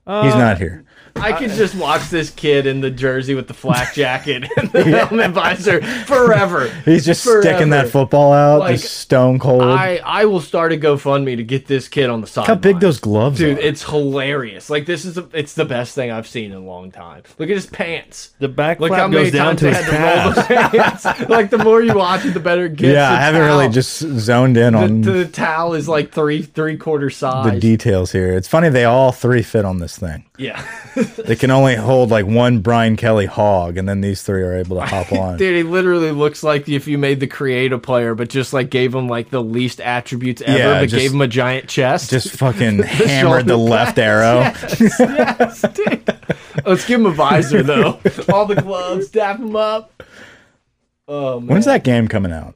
[SPEAKER 1] he's not here.
[SPEAKER 2] I could
[SPEAKER 1] Uh,
[SPEAKER 2] just watch this kid in the jersey with the flak jacket and the helmet visor forever.
[SPEAKER 1] He's just sticking that
[SPEAKER 2] forever.
[SPEAKER 1] football out,
[SPEAKER 2] Like,
[SPEAKER 1] just stone cold.
[SPEAKER 2] I I will start a GoFundMe to get this kid on the side.
[SPEAKER 1] How big those gloves
[SPEAKER 2] Dude,
[SPEAKER 1] are.
[SPEAKER 2] it's hilarious. Like this is a, it's the best thing I've seen in a long time. Look at his pants.
[SPEAKER 3] The back
[SPEAKER 2] Look how
[SPEAKER 3] flap
[SPEAKER 2] many
[SPEAKER 3] goes down
[SPEAKER 2] times
[SPEAKER 3] to
[SPEAKER 2] they
[SPEAKER 3] his
[SPEAKER 2] had to roll
[SPEAKER 3] calves.
[SPEAKER 2] the pants. like the more you watch it, the better it gets.
[SPEAKER 1] yeah,
[SPEAKER 2] The
[SPEAKER 1] I haven't really
[SPEAKER 2] towel-
[SPEAKER 1] just zoned in
[SPEAKER 2] the,
[SPEAKER 1] on
[SPEAKER 2] the towel is like three three quarter
[SPEAKER 1] the
[SPEAKER 2] size.
[SPEAKER 1] details here. It's funny they all three fit on this thing.
[SPEAKER 2] yeah,
[SPEAKER 1] They can only hold like one Brian Kelly hog, and then these three are able to hop on.
[SPEAKER 2] dude, he literally looks like if you made the creative player, but just like gave him like the least attributes ever,
[SPEAKER 1] Yeah,
[SPEAKER 2] but
[SPEAKER 1] just-
[SPEAKER 2] gave him a giant chest.
[SPEAKER 1] Just fucking hammered the
[SPEAKER 2] shoulder
[SPEAKER 1] left arrow.
[SPEAKER 2] yes, dude. Let's give him a visor though. All the gloves, dap him up. Oh man,
[SPEAKER 1] When's that game coming out?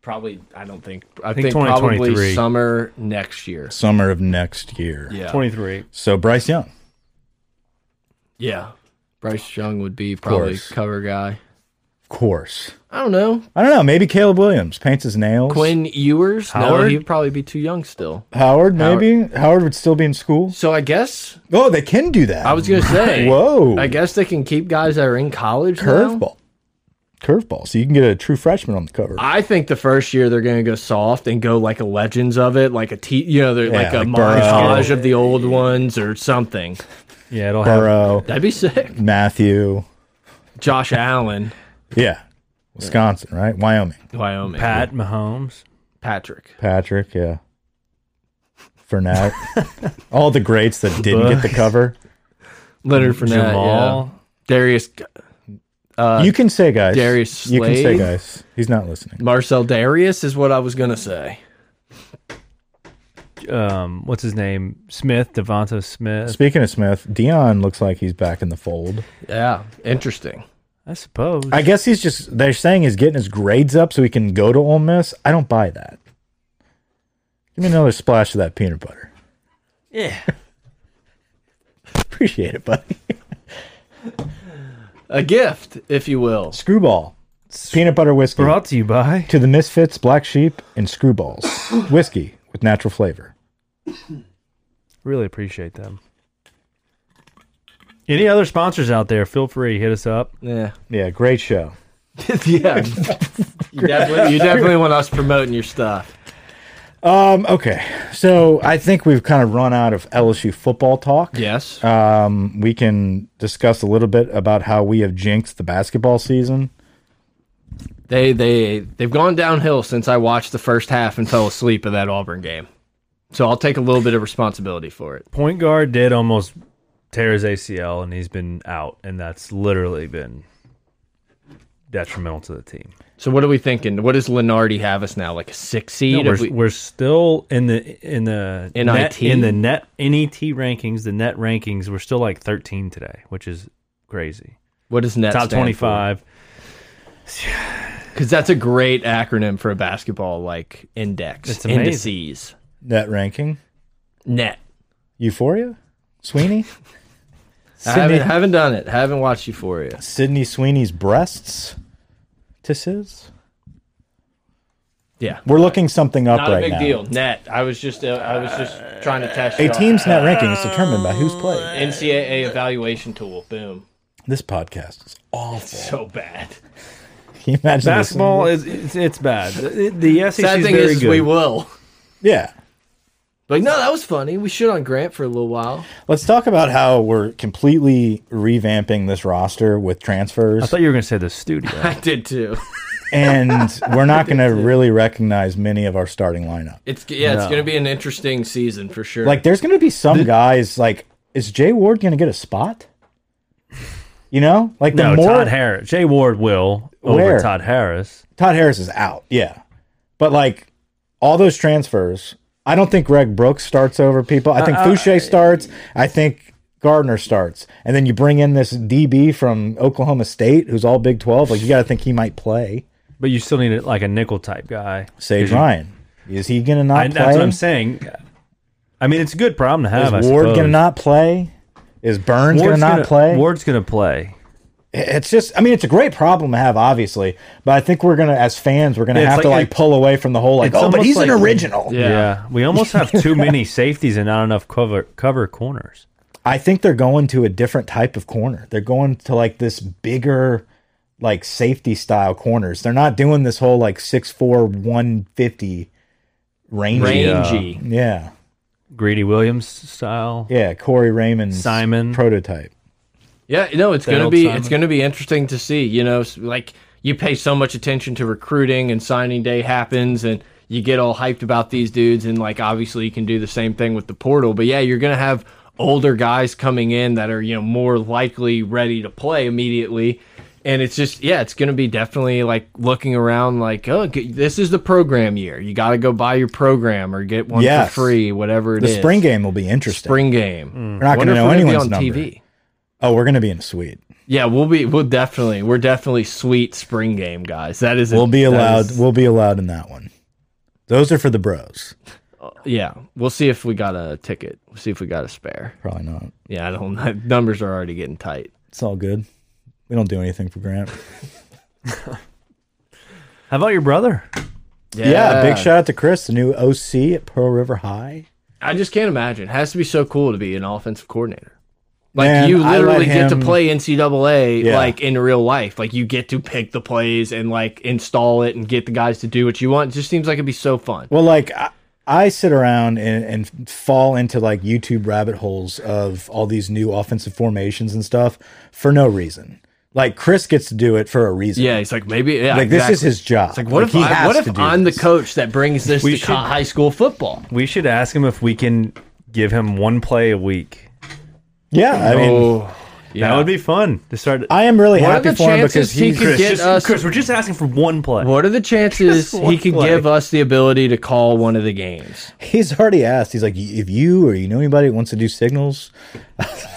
[SPEAKER 2] probably. I don't think. I think,
[SPEAKER 3] think
[SPEAKER 2] probably
[SPEAKER 3] 2023.
[SPEAKER 2] summer next year.
[SPEAKER 1] Summer of next year.
[SPEAKER 2] Yeah,
[SPEAKER 3] Twenty three.
[SPEAKER 1] So Bryce Young.
[SPEAKER 2] yeah. Bryce Young would be probably
[SPEAKER 1] course.
[SPEAKER 2] cover guy.
[SPEAKER 1] Of course.
[SPEAKER 2] I don't know.
[SPEAKER 1] I don't know. Maybe Caleb Williams paints his nails.
[SPEAKER 2] Quinn Ewers. No,
[SPEAKER 3] Howard?
[SPEAKER 2] he'd probably be too young still.
[SPEAKER 1] Howard, maybe. Howard. would still be in school.
[SPEAKER 2] So I guess
[SPEAKER 1] Oh, they can do that.
[SPEAKER 2] I was gonna say.
[SPEAKER 1] Whoa.
[SPEAKER 2] I guess they can keep guys that are in college. now?
[SPEAKER 1] Curveball. curveball. So you can get a true freshman on the cover.
[SPEAKER 2] I think the first year they're going to go soft and go like a Legends of it, like a T, you know, they're like a
[SPEAKER 1] like
[SPEAKER 2] montage
[SPEAKER 1] Burrow.
[SPEAKER 2] of the old ones or something.
[SPEAKER 3] Yeah, it'll have.
[SPEAKER 1] Burrow,
[SPEAKER 2] That'd be sick.
[SPEAKER 1] Matthew.
[SPEAKER 2] Josh Allen,
[SPEAKER 1] Yeah. Wisconsin, right? Wyoming.
[SPEAKER 2] Wyoming.
[SPEAKER 3] Pat Mahomes.
[SPEAKER 2] Patrick.
[SPEAKER 1] Patrick, yeah. Fournette. All the greats that didn't get the cover.
[SPEAKER 2] Leonard Fournette. yeah.
[SPEAKER 3] Jamal.
[SPEAKER 2] Darius. Uh,
[SPEAKER 1] you can say guys.
[SPEAKER 2] Darius
[SPEAKER 1] You can say
[SPEAKER 2] Slade.
[SPEAKER 1] guys. He's not listening.
[SPEAKER 2] Marcel Darius is what I was going to say.
[SPEAKER 3] um, what's his name? Smith, Devonta Smith.
[SPEAKER 1] Speaking of Smith, Dion looks like he's back in the fold.
[SPEAKER 2] Yeah. Interesting.
[SPEAKER 3] I suppose.
[SPEAKER 1] I guess he's just they're saying he's getting his grades up so he can go to Ole Miss. I don't buy that. Give me another splash of that peanut butter.
[SPEAKER 3] yeah.
[SPEAKER 1] Appreciate it, buddy.
[SPEAKER 2] A gift, if you will.
[SPEAKER 1] Screwball. Peanut butter whiskey.
[SPEAKER 3] Brought to you by.
[SPEAKER 1] To the Misfits, Black Sheep, and Screwballs. whiskey with natural flavor.
[SPEAKER 3] Really appreciate them. Any other sponsors out there? Feel free hit us up.
[SPEAKER 2] Yeah.
[SPEAKER 1] Yeah, great show.
[SPEAKER 2] yeah. you definitely, you definitely want us promoting your stuff.
[SPEAKER 1] Um, okay. So I think we've kind of run out of LSU football talk.
[SPEAKER 2] Yes.
[SPEAKER 1] Um, we can discuss a little bit about how we have jinxed the basketball season.
[SPEAKER 2] They they they've gone downhill since I watched the first half and fell asleep at that Auburn game. So I'll take a little bit of responsibility for it.
[SPEAKER 3] Point guard did almost tear his ACL, and he's been out, and that's literally been detrimental to the team.
[SPEAKER 2] So what are we thinking? What does Lenardi have us now? Like a six
[SPEAKER 3] No,
[SPEAKER 2] seed?
[SPEAKER 3] we're,
[SPEAKER 2] Have we-
[SPEAKER 3] we're still in the in the net,
[SPEAKER 2] NIT?
[SPEAKER 3] in the net NET rankings. The net rankings we're still like 13 today, which is crazy.
[SPEAKER 2] what does net
[SPEAKER 3] Top 25.
[SPEAKER 2] Because that's a great acronym for a basketball like index
[SPEAKER 3] It's amazing.
[SPEAKER 2] indices
[SPEAKER 1] That ranking.
[SPEAKER 2] net.
[SPEAKER 1] Euphoria? Sweeney?
[SPEAKER 2] I haven't,
[SPEAKER 1] Sydney,
[SPEAKER 2] haven't done it. Haven't watched Euphoria.
[SPEAKER 1] Sydney Sweeney's breasts? Tisses?
[SPEAKER 2] Yeah,
[SPEAKER 1] We're looking something up
[SPEAKER 2] not
[SPEAKER 1] right
[SPEAKER 2] a big
[SPEAKER 1] now.
[SPEAKER 2] deal. Net. I was just uh, I was just trying to test
[SPEAKER 1] A
[SPEAKER 2] y'all.
[SPEAKER 1] team's net ranking is determined by who's played.
[SPEAKER 2] NCAA evaluation tool. Boom.
[SPEAKER 1] This podcast is awful.
[SPEAKER 2] So bad.
[SPEAKER 1] Can you imagine
[SPEAKER 3] Basketball
[SPEAKER 1] listening
[SPEAKER 3] is it's, it's bad. The, the SEC
[SPEAKER 2] Sad
[SPEAKER 3] is
[SPEAKER 2] thing
[SPEAKER 3] very
[SPEAKER 2] E is,
[SPEAKER 3] good.
[SPEAKER 2] we will.
[SPEAKER 1] to- Yeah.
[SPEAKER 2] Like, no, that was funny. We should on Grant for a little while.
[SPEAKER 1] Let's talk about how we're completely revamping this roster with transfers.
[SPEAKER 3] I thought you were going to say the studio.
[SPEAKER 2] I did too.
[SPEAKER 1] and we're not going to really recognize many of our starting lineup.
[SPEAKER 2] It's yeah, it's gonna be an interesting season for sure.
[SPEAKER 1] Like, there's going to be some guys. Like, is Jay Ward going to get a spot? You know, like the
[SPEAKER 3] no,
[SPEAKER 1] more
[SPEAKER 3] Todd Harris. Jay Ward will
[SPEAKER 1] Where?
[SPEAKER 3] over Todd Harris.
[SPEAKER 1] Todd Harris is out, yeah. But like all those transfers, I don't think Greg Brooks starts over people.
[SPEAKER 3] Uh,
[SPEAKER 1] I think Fouché starts. I think Gardner starts, and then you bring in this DB from Oklahoma State who's all Big Twelve. Like, you got to think he might play.
[SPEAKER 3] But you still need like a nickel type guy.
[SPEAKER 1] Sage
[SPEAKER 3] you-
[SPEAKER 1] Ryan, is he going to not
[SPEAKER 3] I,
[SPEAKER 1] play?
[SPEAKER 3] that's what I'm saying. I mean, it's a good problem to have.
[SPEAKER 1] Is
[SPEAKER 3] I
[SPEAKER 1] Ward going to
[SPEAKER 3] suppose.
[SPEAKER 1] not play? Is Burns going to
[SPEAKER 3] Ward's
[SPEAKER 1] not
[SPEAKER 3] gonna-
[SPEAKER 1] play?
[SPEAKER 3] Ward's going to play.
[SPEAKER 1] It's just, I mean, it's a great problem to have, obviously, but I think we're going to, as fans, we're going to
[SPEAKER 3] Yeah, it's
[SPEAKER 1] have to
[SPEAKER 3] like-
[SPEAKER 1] like pull away from the whole like,
[SPEAKER 3] it's
[SPEAKER 1] oh, but
[SPEAKER 3] almost
[SPEAKER 1] he's an
[SPEAKER 3] like-
[SPEAKER 1] original.
[SPEAKER 2] Yeah.
[SPEAKER 3] Yeah. we almost have too many safeties and not enough cover cover corners.
[SPEAKER 1] I think they're going to a different type of corner. They're going to like this bigger, like safety style corners. They're not doing this whole like 6'4, 150 range.
[SPEAKER 2] rangy.
[SPEAKER 1] Yeah.
[SPEAKER 3] Greedy Williams style.
[SPEAKER 1] Yeah. Corey Raymond's
[SPEAKER 3] Simon.
[SPEAKER 1] prototype.
[SPEAKER 2] Yeah, no, it's gonna
[SPEAKER 3] old
[SPEAKER 2] be
[SPEAKER 3] Simon.
[SPEAKER 2] it's gonna be interesting to see. You know, s- like you pay so much attention to recruiting and signing day happens, and you get all hyped about these dudes, and like obviously you can do the same thing with the portal. But yeah, you're gonna have older guys coming in that are you know more likely ready to play immediately. And it's just yeah, it's gonna be definitely like looking around like oh g- this is the program year. You got to go buy your program or get one
[SPEAKER 1] Yes.
[SPEAKER 2] for free, whatever it
[SPEAKER 1] The
[SPEAKER 2] is.
[SPEAKER 1] spring game will be interesting.
[SPEAKER 2] spring game.
[SPEAKER 1] We're not going
[SPEAKER 2] Wonder
[SPEAKER 1] to
[SPEAKER 2] if
[SPEAKER 1] know
[SPEAKER 2] we're gonna be
[SPEAKER 1] anyone's
[SPEAKER 2] on
[SPEAKER 1] number.
[SPEAKER 2] TV.
[SPEAKER 1] Oh, we're going to be in a suite.
[SPEAKER 2] Yeah, we'll be we'll definitely we're definitely sweet spring game guys. That is
[SPEAKER 1] We'll be
[SPEAKER 2] that
[SPEAKER 1] allowed.
[SPEAKER 2] is-
[SPEAKER 1] We'll be allowed in that one. Those are for the bros.
[SPEAKER 2] yeah, we'll see if we got a ticket. We'll see if we got a spare.
[SPEAKER 1] Probably not.
[SPEAKER 2] Yeah, I don't. know. Numbers are already getting tight.
[SPEAKER 1] It's all good. We don't do anything for Grant.
[SPEAKER 3] How about your brother?
[SPEAKER 1] Yeah. Big shout out to Chris, the new OC at Pearl River High.
[SPEAKER 2] I just can't imagine. It has to be so cool to be an offensive coordinator. Like
[SPEAKER 1] Man,
[SPEAKER 2] you
[SPEAKER 1] I let
[SPEAKER 2] literally get to
[SPEAKER 1] him-
[SPEAKER 2] play NCAA
[SPEAKER 1] Yeah.
[SPEAKER 2] like in real life. Like you get to pick the plays and like install it and get the guys to do what you want. It just seems like it'd be so fun.
[SPEAKER 1] Well, like I, I sit around and, and fall into like YouTube rabbit holes of all these new offensive formations and stuff for no reason. Like Chris gets to do it for a reason.
[SPEAKER 2] Yeah, it's like maybe yeah,
[SPEAKER 1] Like this is
[SPEAKER 2] exactly.
[SPEAKER 1] his job.
[SPEAKER 2] It's like what if
[SPEAKER 1] he
[SPEAKER 2] I,
[SPEAKER 1] has
[SPEAKER 2] what if
[SPEAKER 1] to do
[SPEAKER 2] I'm
[SPEAKER 1] this.
[SPEAKER 2] the coach that brings this to
[SPEAKER 3] should-
[SPEAKER 2] co- high school football?
[SPEAKER 3] We should ask him if we can give him one play a week.
[SPEAKER 1] Yeah, I mean,
[SPEAKER 2] oh, yeah.
[SPEAKER 3] That would be fun to start.
[SPEAKER 1] I am really
[SPEAKER 2] What are
[SPEAKER 1] happy
[SPEAKER 2] the
[SPEAKER 1] for him
[SPEAKER 2] chances
[SPEAKER 1] because
[SPEAKER 2] he
[SPEAKER 1] he's
[SPEAKER 2] could
[SPEAKER 3] Chris,
[SPEAKER 2] get
[SPEAKER 3] just-
[SPEAKER 2] us-
[SPEAKER 3] Chris, we're just asking for one play.
[SPEAKER 2] What are the chances
[SPEAKER 3] Just one
[SPEAKER 2] he could
[SPEAKER 3] play.
[SPEAKER 2] give us the ability to call one of the games?
[SPEAKER 1] he's already asked. He's like, if you or you know anybody that wants to do signals,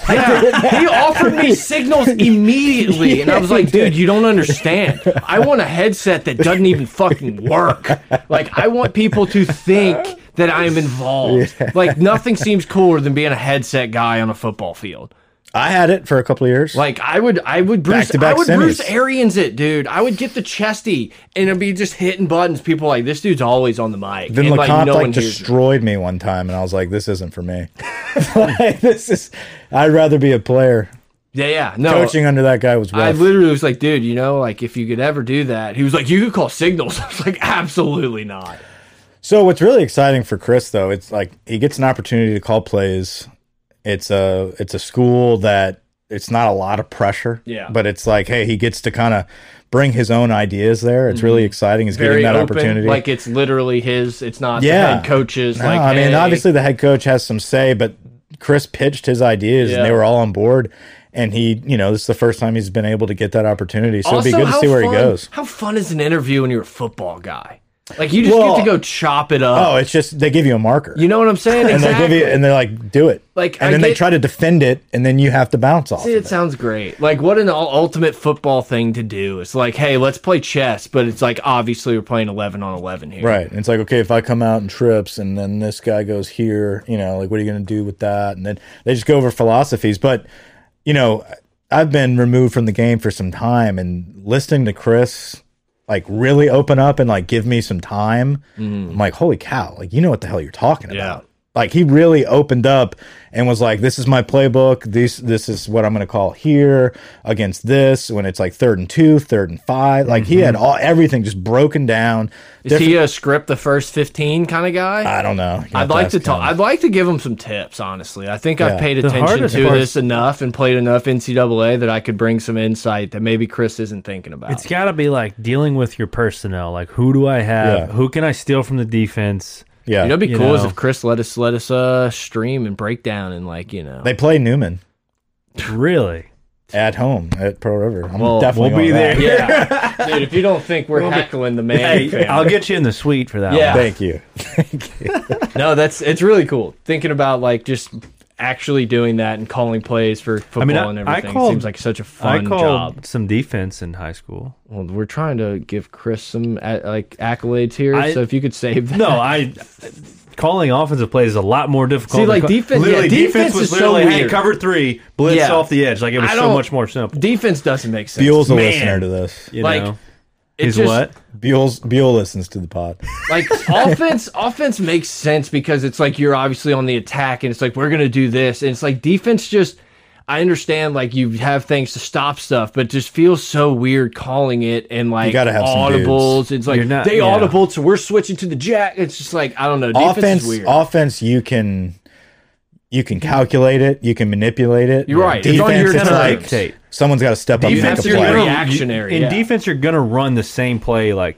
[SPEAKER 2] Yeah, he offered me signals immediately, and I was like, "Dude, you don't understand. I want a headset that doesn't even fucking work. Like, I want people to think that I'm involved. Like, nothing seems cooler than being a headset guy on a football field.
[SPEAKER 1] I had it for a couple of years.
[SPEAKER 2] Like, I would, I would Bruce,
[SPEAKER 1] Back-to-back
[SPEAKER 2] I would
[SPEAKER 1] semis.
[SPEAKER 2] Bruce Arians it, dude. I would get the chesty, and it'd be just hitting buttons. People like, this dude's always on the mic.
[SPEAKER 1] then
[SPEAKER 2] and,
[SPEAKER 1] LeConte like,
[SPEAKER 2] one hears him.
[SPEAKER 1] destroyed me one time, and I was like, "This isn't for me. like, this is. I'd rather be a player.
[SPEAKER 2] yeah, yeah, no,
[SPEAKER 1] Coaching under that guy was
[SPEAKER 2] I
[SPEAKER 1] rough.
[SPEAKER 2] literally was like, dude, you know, like if you could ever do that, he was like, you could call signals. I was like, absolutely not.
[SPEAKER 1] So what's really exciting for Chris though, it's like he gets an opportunity to call plays. It's a it's a school that it's not a lot of pressure.
[SPEAKER 2] Yeah.
[SPEAKER 1] But it's like, hey, he gets to kind of bring his own ideas there. It's really exciting. He's
[SPEAKER 2] Mm-hmm. Very
[SPEAKER 1] getting that
[SPEAKER 2] open.
[SPEAKER 1] opportunity.
[SPEAKER 2] Like it's literally his. It's not
[SPEAKER 1] Yeah.
[SPEAKER 2] the head coaches.
[SPEAKER 1] No,
[SPEAKER 2] like,
[SPEAKER 1] Uh, I mean,
[SPEAKER 2] hey.
[SPEAKER 1] obviously the head coach has some say, but Chris pitched his ideas
[SPEAKER 2] Yeah.
[SPEAKER 1] and they were all on board. And he, you know, this is the first time he's been able to get that opportunity. So
[SPEAKER 2] Also,
[SPEAKER 1] it'd be good to
[SPEAKER 2] how
[SPEAKER 1] see where
[SPEAKER 2] fun-
[SPEAKER 1] he goes.
[SPEAKER 2] How fun is an interview when you're a football guy? Like you just
[SPEAKER 1] Well-
[SPEAKER 2] get to go chop it up.
[SPEAKER 1] Oh, it's just they give you a marker.
[SPEAKER 2] you know what I'm saying?
[SPEAKER 1] and
[SPEAKER 2] exactly.
[SPEAKER 1] they give you and they're like, do it.
[SPEAKER 2] Like,
[SPEAKER 1] and
[SPEAKER 2] I
[SPEAKER 1] then they
[SPEAKER 2] get-
[SPEAKER 1] try to defend it, and then you have to bounce off.
[SPEAKER 2] it sounds great. Like what an ul- ultimate football thing to do. It's like, hey, let's play chess, but it's like obviously we're playing 11 on 11 here.
[SPEAKER 1] Right. And it's like, okay, if I come out and trips and then this guy goes here, you know, like, what are you going to do with that? And then they just go over philosophies. But, you know, I've been removed from the game for some time and listening to Chris, like, really open up and, like, give me some time. I'm like, holy cow, like, you know what the hell you're talking
[SPEAKER 2] Mm-hmm. Yeah.
[SPEAKER 1] about. Like he really opened up and was like, "This is my playbook. This this is what I'm going to call here against this when it's like third and two, third and five. Like he
[SPEAKER 2] Mm-hmm.
[SPEAKER 1] had all everything just broken down.
[SPEAKER 2] Is he a script the first 15 kind of guy?
[SPEAKER 1] I don't know. You have
[SPEAKER 2] I'd like
[SPEAKER 1] ask
[SPEAKER 2] to talk.
[SPEAKER 1] him.
[SPEAKER 2] I'd like to give him some tips. Honestly, I think I've paid
[SPEAKER 3] The
[SPEAKER 2] attention
[SPEAKER 3] hardest
[SPEAKER 2] to
[SPEAKER 3] part-
[SPEAKER 2] this enough and played enough NCAA that I could bring some insight that maybe Chris isn't thinking about.
[SPEAKER 3] It's got to be like dealing with your personnel. Like, who do I have?
[SPEAKER 1] Yeah.
[SPEAKER 3] Who can I steal from the defense?
[SPEAKER 1] Yeah,
[SPEAKER 2] you know, it'd be
[SPEAKER 3] you
[SPEAKER 2] cool is
[SPEAKER 3] know.
[SPEAKER 2] if Chris let us let us uh stream and break down and like you know.
[SPEAKER 1] they play Newman
[SPEAKER 3] Really?
[SPEAKER 1] at home at Pearl River. I'm
[SPEAKER 2] Well,
[SPEAKER 1] definitely
[SPEAKER 3] we'll be
[SPEAKER 1] going back.
[SPEAKER 3] there.
[SPEAKER 2] yeah, dude. If you don't think we're heckling the man,
[SPEAKER 3] Hey,
[SPEAKER 2] fam.
[SPEAKER 3] I'll get you in the suite for that.
[SPEAKER 2] Yeah.
[SPEAKER 3] One.
[SPEAKER 1] Thank you.
[SPEAKER 2] no, that's it's really cool thinking about like just actually doing that and calling plays for football
[SPEAKER 3] mean, I-
[SPEAKER 2] and
[SPEAKER 3] I
[SPEAKER 2] everything.
[SPEAKER 3] called-
[SPEAKER 2] Seems like such a
[SPEAKER 3] I
[SPEAKER 2] fun
[SPEAKER 3] called
[SPEAKER 2] job.
[SPEAKER 3] some defense in high school.
[SPEAKER 2] Well, we're trying to give Chris some uh, like accolades here,
[SPEAKER 3] I-
[SPEAKER 2] so if you could save that.
[SPEAKER 3] No, I calling offensive plays is a lot more difficult.
[SPEAKER 2] See,
[SPEAKER 3] than
[SPEAKER 2] like,
[SPEAKER 3] ca-
[SPEAKER 2] defense-
[SPEAKER 3] literally
[SPEAKER 2] yeah,
[SPEAKER 3] defense,
[SPEAKER 2] defense
[SPEAKER 3] was
[SPEAKER 2] is so
[SPEAKER 3] literally hey,
[SPEAKER 2] weird.
[SPEAKER 3] cover three, blitz
[SPEAKER 2] Yeah.
[SPEAKER 3] off the edge. Like it was
[SPEAKER 2] I
[SPEAKER 3] so
[SPEAKER 2] don't-
[SPEAKER 3] much more simple.
[SPEAKER 2] defense doesn't make sense.
[SPEAKER 1] Buell's a
[SPEAKER 3] Man.
[SPEAKER 1] listener to this.
[SPEAKER 3] You
[SPEAKER 2] like,
[SPEAKER 3] know,
[SPEAKER 2] It
[SPEAKER 3] is
[SPEAKER 2] just-
[SPEAKER 3] what
[SPEAKER 1] Buell's Buell listens to the pod.
[SPEAKER 2] Like offense, offense makes sense because it's like you're obviously on the attack, and it's like we're gonna do this, and it's like defense just. I understand like you have things to stop stuff, but it just feels so weird calling it and like
[SPEAKER 1] gotta have some dudes.
[SPEAKER 2] audibles. It's like
[SPEAKER 3] You're not-
[SPEAKER 2] they
[SPEAKER 3] yeah.
[SPEAKER 2] audible, so we're switching to the jack. It's just like I don't know. Defense is
[SPEAKER 1] offense,
[SPEAKER 2] weird.
[SPEAKER 1] offense, you can you can calculate it, you can manipulate it.
[SPEAKER 2] You're right. It's
[SPEAKER 1] Defense,
[SPEAKER 2] on your
[SPEAKER 1] it's
[SPEAKER 2] terms.
[SPEAKER 1] like someone's got to step up, and
[SPEAKER 2] You
[SPEAKER 1] make
[SPEAKER 2] have
[SPEAKER 1] a
[SPEAKER 2] to be
[SPEAKER 1] play.
[SPEAKER 2] real. reactionary,
[SPEAKER 3] In
[SPEAKER 2] yeah.
[SPEAKER 3] defense, you're gonna run the same play like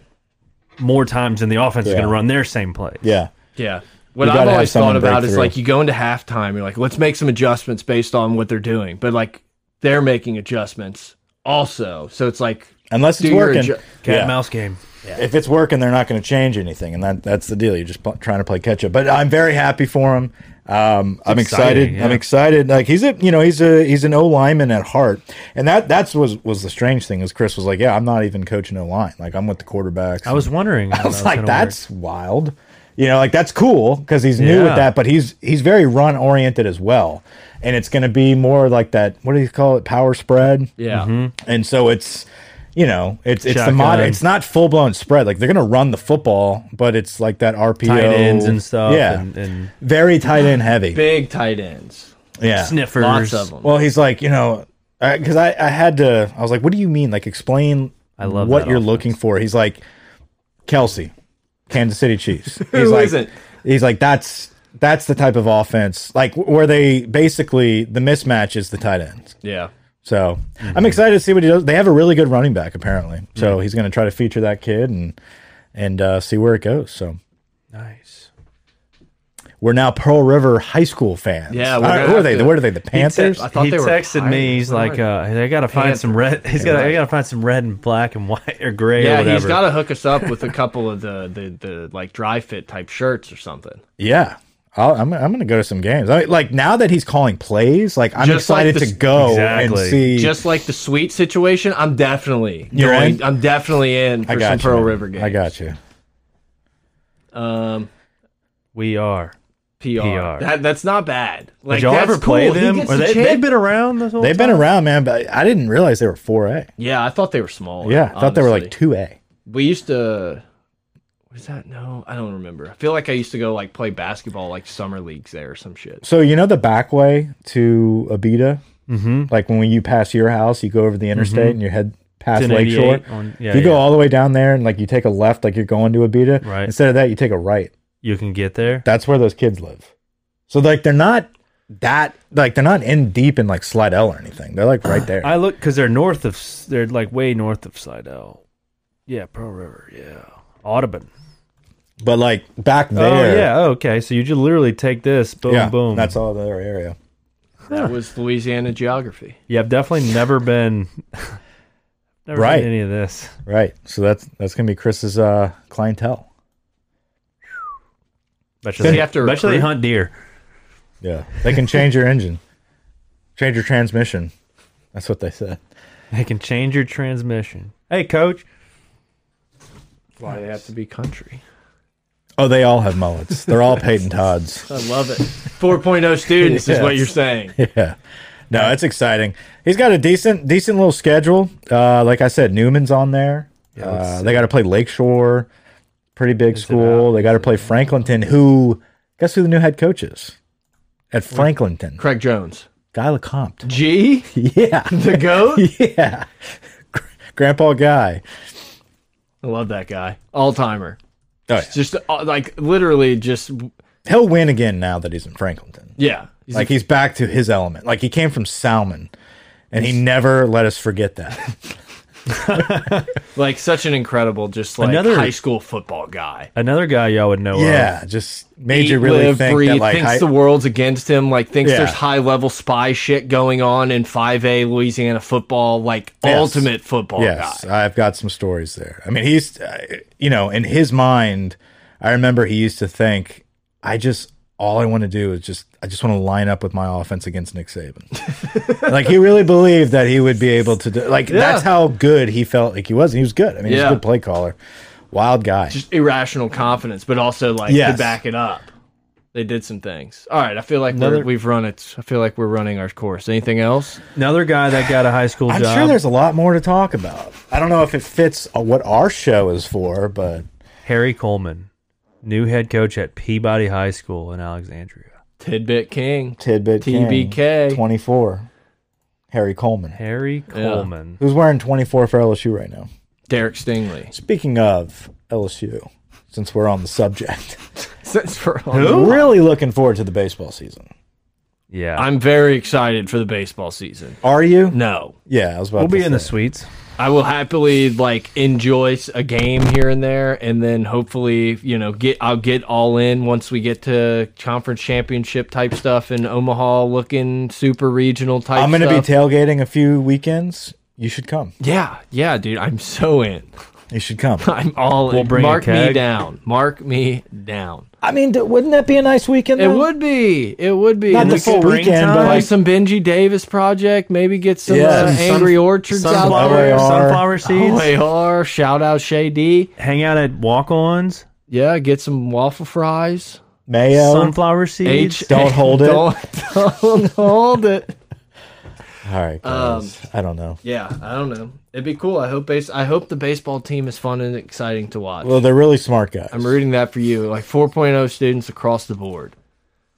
[SPEAKER 3] more times than the offense is
[SPEAKER 1] Yeah.
[SPEAKER 3] gonna run their same play.
[SPEAKER 1] Yeah,
[SPEAKER 2] Yeah. What
[SPEAKER 1] You gotta
[SPEAKER 2] I've
[SPEAKER 1] have
[SPEAKER 2] always
[SPEAKER 1] someone
[SPEAKER 2] thought about
[SPEAKER 1] break
[SPEAKER 2] is
[SPEAKER 1] through.
[SPEAKER 2] like you go into halftime, you're like, let's make some adjustments based on what they're doing. But like they're making adjustments also. So it's like
[SPEAKER 1] unless it's
[SPEAKER 2] Do your
[SPEAKER 1] working.
[SPEAKER 2] adju-
[SPEAKER 3] Cat
[SPEAKER 1] Yeah.
[SPEAKER 3] and mouse game.
[SPEAKER 1] if it's working, they're not going to change anything, and that that's the deal. You're just pl- trying to play catch up. But I'm very happy for him. Um, I'm excited.
[SPEAKER 3] exciting, yeah.
[SPEAKER 1] I'm excited. Like he's a you know he's a he's an O lineman at heart, and that that's was was the strange thing is Chris was like, yeah, I'm not even coaching O line. Like I'm with the quarterbacks.
[SPEAKER 3] I was wondering.
[SPEAKER 1] I was like, that's wild. You know, like that's cool because he's new
[SPEAKER 3] Yeah.
[SPEAKER 1] at that, but he's he's very run oriented as well, and it's going to be more like that. What do you call it? Power spread
[SPEAKER 2] yeah.
[SPEAKER 1] and so it's you know it's it's the mod
[SPEAKER 3] Shotgun.
[SPEAKER 1] it's not full blown spread like they're gonna run the football but it's like that RPO
[SPEAKER 3] tight ends and stuff.
[SPEAKER 1] yeah
[SPEAKER 3] and, and
[SPEAKER 1] very tight end heavy
[SPEAKER 2] Big tight ends.
[SPEAKER 1] yeah.
[SPEAKER 3] sniffers.
[SPEAKER 2] Lots of them.
[SPEAKER 1] Well, he's like, you know, because I, I, had to, I was like, what do you mean? Like, explain I
[SPEAKER 3] love
[SPEAKER 1] what
[SPEAKER 3] that
[SPEAKER 1] you're
[SPEAKER 3] offense.
[SPEAKER 1] looking for. He's like, Kelsey, Kansas City Chiefs. He's
[SPEAKER 2] Who
[SPEAKER 1] like,
[SPEAKER 2] isn't?
[SPEAKER 1] He's like, that's that's the type of offense, like wh- where they basically the mismatch is the tight ends.
[SPEAKER 2] yeah.
[SPEAKER 1] So
[SPEAKER 2] Mm-hmm.
[SPEAKER 1] I'm excited to see what he does. They have a really good running back apparently, so he's going to try to feature that kid and and uh, see where it goes. So
[SPEAKER 3] Nice.
[SPEAKER 1] we're now Pearl River High School fans.
[SPEAKER 2] Yeah,
[SPEAKER 1] All
[SPEAKER 2] we're
[SPEAKER 1] right,
[SPEAKER 2] gonna
[SPEAKER 1] who are
[SPEAKER 2] have
[SPEAKER 1] they?
[SPEAKER 2] to-
[SPEAKER 1] What are they? The
[SPEAKER 3] He, te-
[SPEAKER 1] Panthers.
[SPEAKER 2] I thought
[SPEAKER 3] he
[SPEAKER 2] they were
[SPEAKER 3] texted
[SPEAKER 2] hired.
[SPEAKER 3] me. He's
[SPEAKER 2] Where
[SPEAKER 3] like,
[SPEAKER 2] are
[SPEAKER 3] uh, I gotta find some red. He's got. I gotta find some red and black and white or gray. or
[SPEAKER 2] Yeah,
[SPEAKER 3] whatever.
[SPEAKER 2] he's got to hook us up with a couple of the, the, the like dry fit type shirts or something.
[SPEAKER 1] Yeah. I'll, I'm, I'm going to go to some games. I mean, like now that he's calling plays, like I'm
[SPEAKER 2] Just like
[SPEAKER 1] excited
[SPEAKER 2] this-
[SPEAKER 1] to go
[SPEAKER 3] Exactly.
[SPEAKER 1] and see.
[SPEAKER 2] Just like the sweet situation, I'm definitely
[SPEAKER 1] You're
[SPEAKER 2] going-
[SPEAKER 1] in?
[SPEAKER 2] I'm definitely in for
[SPEAKER 1] I
[SPEAKER 2] some
[SPEAKER 1] got you.
[SPEAKER 2] Pearl
[SPEAKER 1] man.
[SPEAKER 2] River games.
[SPEAKER 1] I got you.
[SPEAKER 2] um,
[SPEAKER 3] We are.
[SPEAKER 2] PR.
[SPEAKER 3] PR.
[SPEAKER 2] That, that's not bad. Like
[SPEAKER 3] Did y'all
[SPEAKER 2] that's
[SPEAKER 3] ever play
[SPEAKER 2] cool. He
[SPEAKER 3] them?
[SPEAKER 2] gets
[SPEAKER 3] Or
[SPEAKER 2] the
[SPEAKER 3] they,
[SPEAKER 2] chance-
[SPEAKER 3] they've been around this whole
[SPEAKER 1] They've been around, man, but I didn't realize they were 4A.
[SPEAKER 2] Yeah, I thought they were small.
[SPEAKER 1] Yeah. I thought they were like 2A.
[SPEAKER 2] We used to. What is that? No, I don't remember. I feel like I used to go like play basketball like summer leagues there or some shit.
[SPEAKER 1] So, you know the back way to Abita? Mm-hmm. Like when you pass your house, you go over the interstate and you head past
[SPEAKER 3] Mm-hmm. It's in
[SPEAKER 1] Lakeshore.
[SPEAKER 3] 88 on- yeah,
[SPEAKER 1] you go
[SPEAKER 3] yeah.
[SPEAKER 1] all the way down there and like you take a left, like you're going to Abita.
[SPEAKER 3] Right.
[SPEAKER 1] Instead of that, you take a right.
[SPEAKER 3] You can get there.
[SPEAKER 1] That's where those kids live. So like they're not that like they're not in deep in like Slidell or anything. They're like right there.
[SPEAKER 3] I look because they're north of. S- They're like way north of Slidell. Yeah, Pearl River. Yeah, Audubon.
[SPEAKER 1] But like back there,
[SPEAKER 3] Oh yeah. oh, okay, so you just literally take this. Boom,
[SPEAKER 1] yeah,
[SPEAKER 3] boom.
[SPEAKER 1] That's all their area.
[SPEAKER 2] That was Louisiana geography.
[SPEAKER 3] yeah. I've definitely never been. never
[SPEAKER 1] Right.
[SPEAKER 3] seen any of this.
[SPEAKER 1] Right. So that's that's gonna be Chris's uh, clientele.
[SPEAKER 3] Bet you
[SPEAKER 2] Does
[SPEAKER 3] they,
[SPEAKER 2] he have to
[SPEAKER 3] bet you they
[SPEAKER 2] recruit?
[SPEAKER 3] hunt deer.
[SPEAKER 1] Yeah. They can change your engine, change your transmission. That's what they said.
[SPEAKER 3] They can change your transmission. Hey, coach.
[SPEAKER 2] Why they have to be country?
[SPEAKER 1] Oh, they all have mullets. They're all Peyton Todds.
[SPEAKER 2] I love it. 4.0 students is what you're saying.
[SPEAKER 1] Yeah. No, it's exciting. He's got a decent decent little schedule. Uh, like I said, Newman's on there. uh, they got to play Lakeshore, pretty big school. They got to play Franklinton. Who guess who the new head coach is at Franklinton?
[SPEAKER 2] Craig Jones.
[SPEAKER 1] Guy LeCompte.
[SPEAKER 2] G,
[SPEAKER 1] Yeah,
[SPEAKER 2] the goat.
[SPEAKER 1] yeah. Grandpa Guy.
[SPEAKER 2] I love that guy. All timer.
[SPEAKER 1] Oh, yeah.
[SPEAKER 2] Just uh, like literally just
[SPEAKER 1] He'll win again now that he's in Franklinton.
[SPEAKER 2] yeah. He's
[SPEAKER 1] Like he's back to his element. Like he came from Salmon, and he never let us forget that.
[SPEAKER 2] like such an incredible just like
[SPEAKER 3] Another-
[SPEAKER 2] high school football guy.
[SPEAKER 3] Another guy y'all would know. Of.
[SPEAKER 1] yeah, just made
[SPEAKER 2] Eat,
[SPEAKER 1] you really
[SPEAKER 2] live,
[SPEAKER 1] think
[SPEAKER 2] breathe,
[SPEAKER 1] that like
[SPEAKER 2] thinks
[SPEAKER 1] hi-
[SPEAKER 2] the world's against him, like thinks
[SPEAKER 1] Yeah.
[SPEAKER 2] there's high level spy shit going on in 5A Louisiana football, like
[SPEAKER 1] Yes.
[SPEAKER 2] ultimate football
[SPEAKER 1] Yes,
[SPEAKER 2] guy.
[SPEAKER 1] I've got some stories there. I mean, he's, uh, you know, in his mind, I remember he used to think, I just, all I want to do is just, I just want to line up with my offense against Nick Saban. like, he really believed that he would be able to do, like, that's how good he felt like he was. And he was good. I mean, he was
[SPEAKER 2] Yeah.
[SPEAKER 1] a good play caller, wild guy.
[SPEAKER 2] Just irrational confidence, but also like to
[SPEAKER 1] Yes.
[SPEAKER 2] back it up. They did some things. All right, I feel like we're,
[SPEAKER 3] Another-
[SPEAKER 2] we've run it. I feel like we're running our course. Anything else?
[SPEAKER 3] Another guy that got a high school
[SPEAKER 1] I'm
[SPEAKER 3] job.
[SPEAKER 1] sure there's a lot more to talk about. I don't know if it fits uh, what our show is for, but
[SPEAKER 3] Harry Coleman, new head coach at Peabody High School in Alexandria.
[SPEAKER 2] Tidbit King.
[SPEAKER 1] tidbit King,
[SPEAKER 2] TBK.
[SPEAKER 1] 24, Harry Coleman,
[SPEAKER 3] Harry Coleman.
[SPEAKER 1] who's wearing 24 for LSU right now.
[SPEAKER 2] Derek Stingley.
[SPEAKER 1] Speaking of LSU, since we're on the subject,
[SPEAKER 2] Since we're on
[SPEAKER 1] really looking forward to the baseball season.
[SPEAKER 3] Yeah.
[SPEAKER 2] I'm very excited for the baseball season.
[SPEAKER 1] Are you?
[SPEAKER 2] No,
[SPEAKER 1] Yeah, I was about
[SPEAKER 3] we'll
[SPEAKER 1] to
[SPEAKER 3] be in the
[SPEAKER 1] say.
[SPEAKER 3] suites.
[SPEAKER 2] I will happily like enjoy s- a game here and there, and then hopefully, you know, get I'll get all in once we get to conference championship type stuff in Omaha, looking super regional type.
[SPEAKER 1] I'm going to be
[SPEAKER 2] stuff.
[SPEAKER 1] tailgating a few weekends. You should come.
[SPEAKER 2] yeah, yeah, dude. I'm so in.
[SPEAKER 1] You should come.
[SPEAKER 2] I'm all
[SPEAKER 3] We'll
[SPEAKER 2] in.
[SPEAKER 3] bring a
[SPEAKER 2] Mark me
[SPEAKER 3] keg.
[SPEAKER 2] down. Mark me down.
[SPEAKER 1] I mean, d- wouldn't that be a nice weekend?
[SPEAKER 2] It
[SPEAKER 1] though?
[SPEAKER 2] would be. It would be.
[SPEAKER 1] Not
[SPEAKER 2] And
[SPEAKER 1] the
[SPEAKER 2] we
[SPEAKER 1] full
[SPEAKER 2] could
[SPEAKER 1] weekend, but
[SPEAKER 2] Play
[SPEAKER 1] like,
[SPEAKER 2] some Benji Davis project. Maybe get some
[SPEAKER 1] Yeah.
[SPEAKER 2] uh,
[SPEAKER 1] Some
[SPEAKER 3] sun-
[SPEAKER 2] Angry Orchards out
[SPEAKER 1] sunflower-
[SPEAKER 2] there.
[SPEAKER 1] are.
[SPEAKER 3] sunflower seeds. Oh,
[SPEAKER 2] OAR, shout out Shay D.
[SPEAKER 3] Hang out at walk ons.
[SPEAKER 2] Yeah, get some waffle fries.
[SPEAKER 1] mayo.
[SPEAKER 3] Sunflower seeds.
[SPEAKER 1] Don't hold it.
[SPEAKER 2] Don't, don't hold it.
[SPEAKER 1] All right, guys. I don't know.
[SPEAKER 2] Yeah, I don't know. It'd be cool. I hope base. I hope the baseball team is fun and exciting to watch.
[SPEAKER 1] Well, they're really smart guys.
[SPEAKER 2] oh I'm rooting that for you. Like 4.0 students across the board.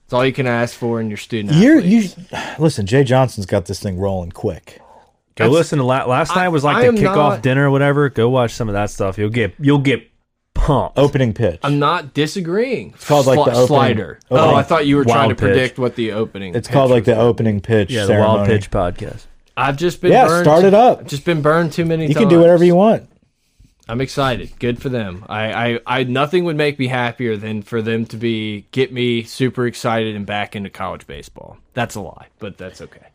[SPEAKER 2] It's all you can ask for in your student.
[SPEAKER 1] You're,
[SPEAKER 2] athlete.
[SPEAKER 1] you listen. Jay Johnson's got this thing rolling quick.
[SPEAKER 3] Go listen to la last
[SPEAKER 2] I-
[SPEAKER 3] night was
[SPEAKER 2] I
[SPEAKER 3] like
[SPEAKER 2] am
[SPEAKER 3] the kickoff
[SPEAKER 2] not-
[SPEAKER 3] dinner or whatever. Go watch some of that stuff. You'll get you'll get pumped.
[SPEAKER 1] Opening pitch.
[SPEAKER 2] I'm not disagreeing. It's
[SPEAKER 1] called, like, the opening-
[SPEAKER 2] slider.
[SPEAKER 1] opening
[SPEAKER 2] oh, I thought you were trying to
[SPEAKER 3] wild pitch.
[SPEAKER 2] predict what the opening.
[SPEAKER 1] it's called like the opening pitch
[SPEAKER 3] yeah, the
[SPEAKER 1] ceremony.
[SPEAKER 3] Wild Pitch podcast.
[SPEAKER 2] I've just been
[SPEAKER 1] Yeah,
[SPEAKER 2] burned,
[SPEAKER 1] start it up.
[SPEAKER 2] Just been burned too many.
[SPEAKER 1] You can do whatever you want.
[SPEAKER 2] I'm excited. Good for them. I, I, I nothing would make me happier than for them to be get me super excited and back into college baseball. That's a lie, but that's okay.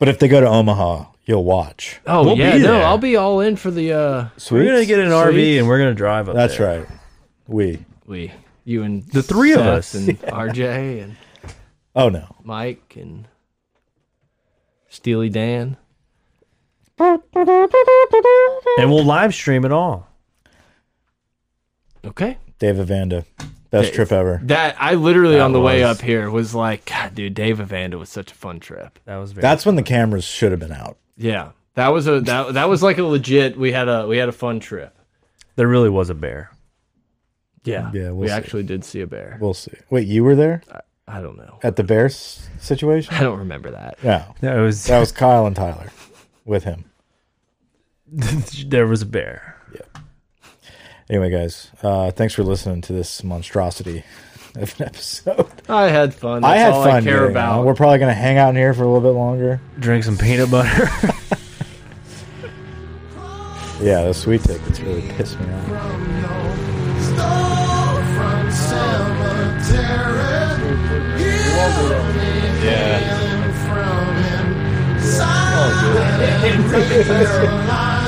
[SPEAKER 1] But if they go to Omaha, you'll watch.
[SPEAKER 2] Oh
[SPEAKER 3] We'll
[SPEAKER 2] yeah,
[SPEAKER 3] be
[SPEAKER 2] no,
[SPEAKER 3] there.
[SPEAKER 2] I'll be all in for the uh
[SPEAKER 1] Sweet.
[SPEAKER 3] We're gonna get an
[SPEAKER 2] Sweet.
[SPEAKER 3] RV and we're gonna drive up.
[SPEAKER 1] That's
[SPEAKER 3] there.
[SPEAKER 1] right. We.
[SPEAKER 2] we you and
[SPEAKER 3] The three of
[SPEAKER 2] Seth
[SPEAKER 3] us.
[SPEAKER 2] and RJ and
[SPEAKER 1] Oh no.
[SPEAKER 2] Mike and Steely Dan.
[SPEAKER 3] and we'll live stream it all.
[SPEAKER 2] Okay.
[SPEAKER 1] Dave Avanda. Best
[SPEAKER 2] Dave.
[SPEAKER 1] trip ever.
[SPEAKER 2] That I literally on the way
[SPEAKER 3] was-
[SPEAKER 2] up here was like, God, dude, Dave Avanda was such a fun trip.
[SPEAKER 3] That was very.
[SPEAKER 1] That's when the cameras should have been out.
[SPEAKER 2] Yeah. That was a that that was like a legit we had a we had a fun trip.
[SPEAKER 3] there really was a bear.
[SPEAKER 2] Yeah.
[SPEAKER 1] Yeah, we'll
[SPEAKER 2] we
[SPEAKER 1] see.
[SPEAKER 2] actually did see a bear.
[SPEAKER 1] We'll see. Wait, you were there
[SPEAKER 2] I don't know.
[SPEAKER 1] at the Bears situation?
[SPEAKER 2] I don't remember that.
[SPEAKER 1] No.
[SPEAKER 3] That was
[SPEAKER 1] That was Kyle and Tyler with him.
[SPEAKER 3] there was a bear.
[SPEAKER 1] Anyway, guys, uh, thanks for listening to this monstrosity of an episode.
[SPEAKER 2] I had fun. That's
[SPEAKER 1] I had
[SPEAKER 2] all
[SPEAKER 1] fun.
[SPEAKER 2] I care
[SPEAKER 1] getting
[SPEAKER 2] about.
[SPEAKER 1] on. We're probably going to hang out in here for a little bit longer.
[SPEAKER 3] Drink some peanut butter.
[SPEAKER 1] Yeah, the sweet tickets really pissed me off.
[SPEAKER 5] Stole from cemetery. You came from inside.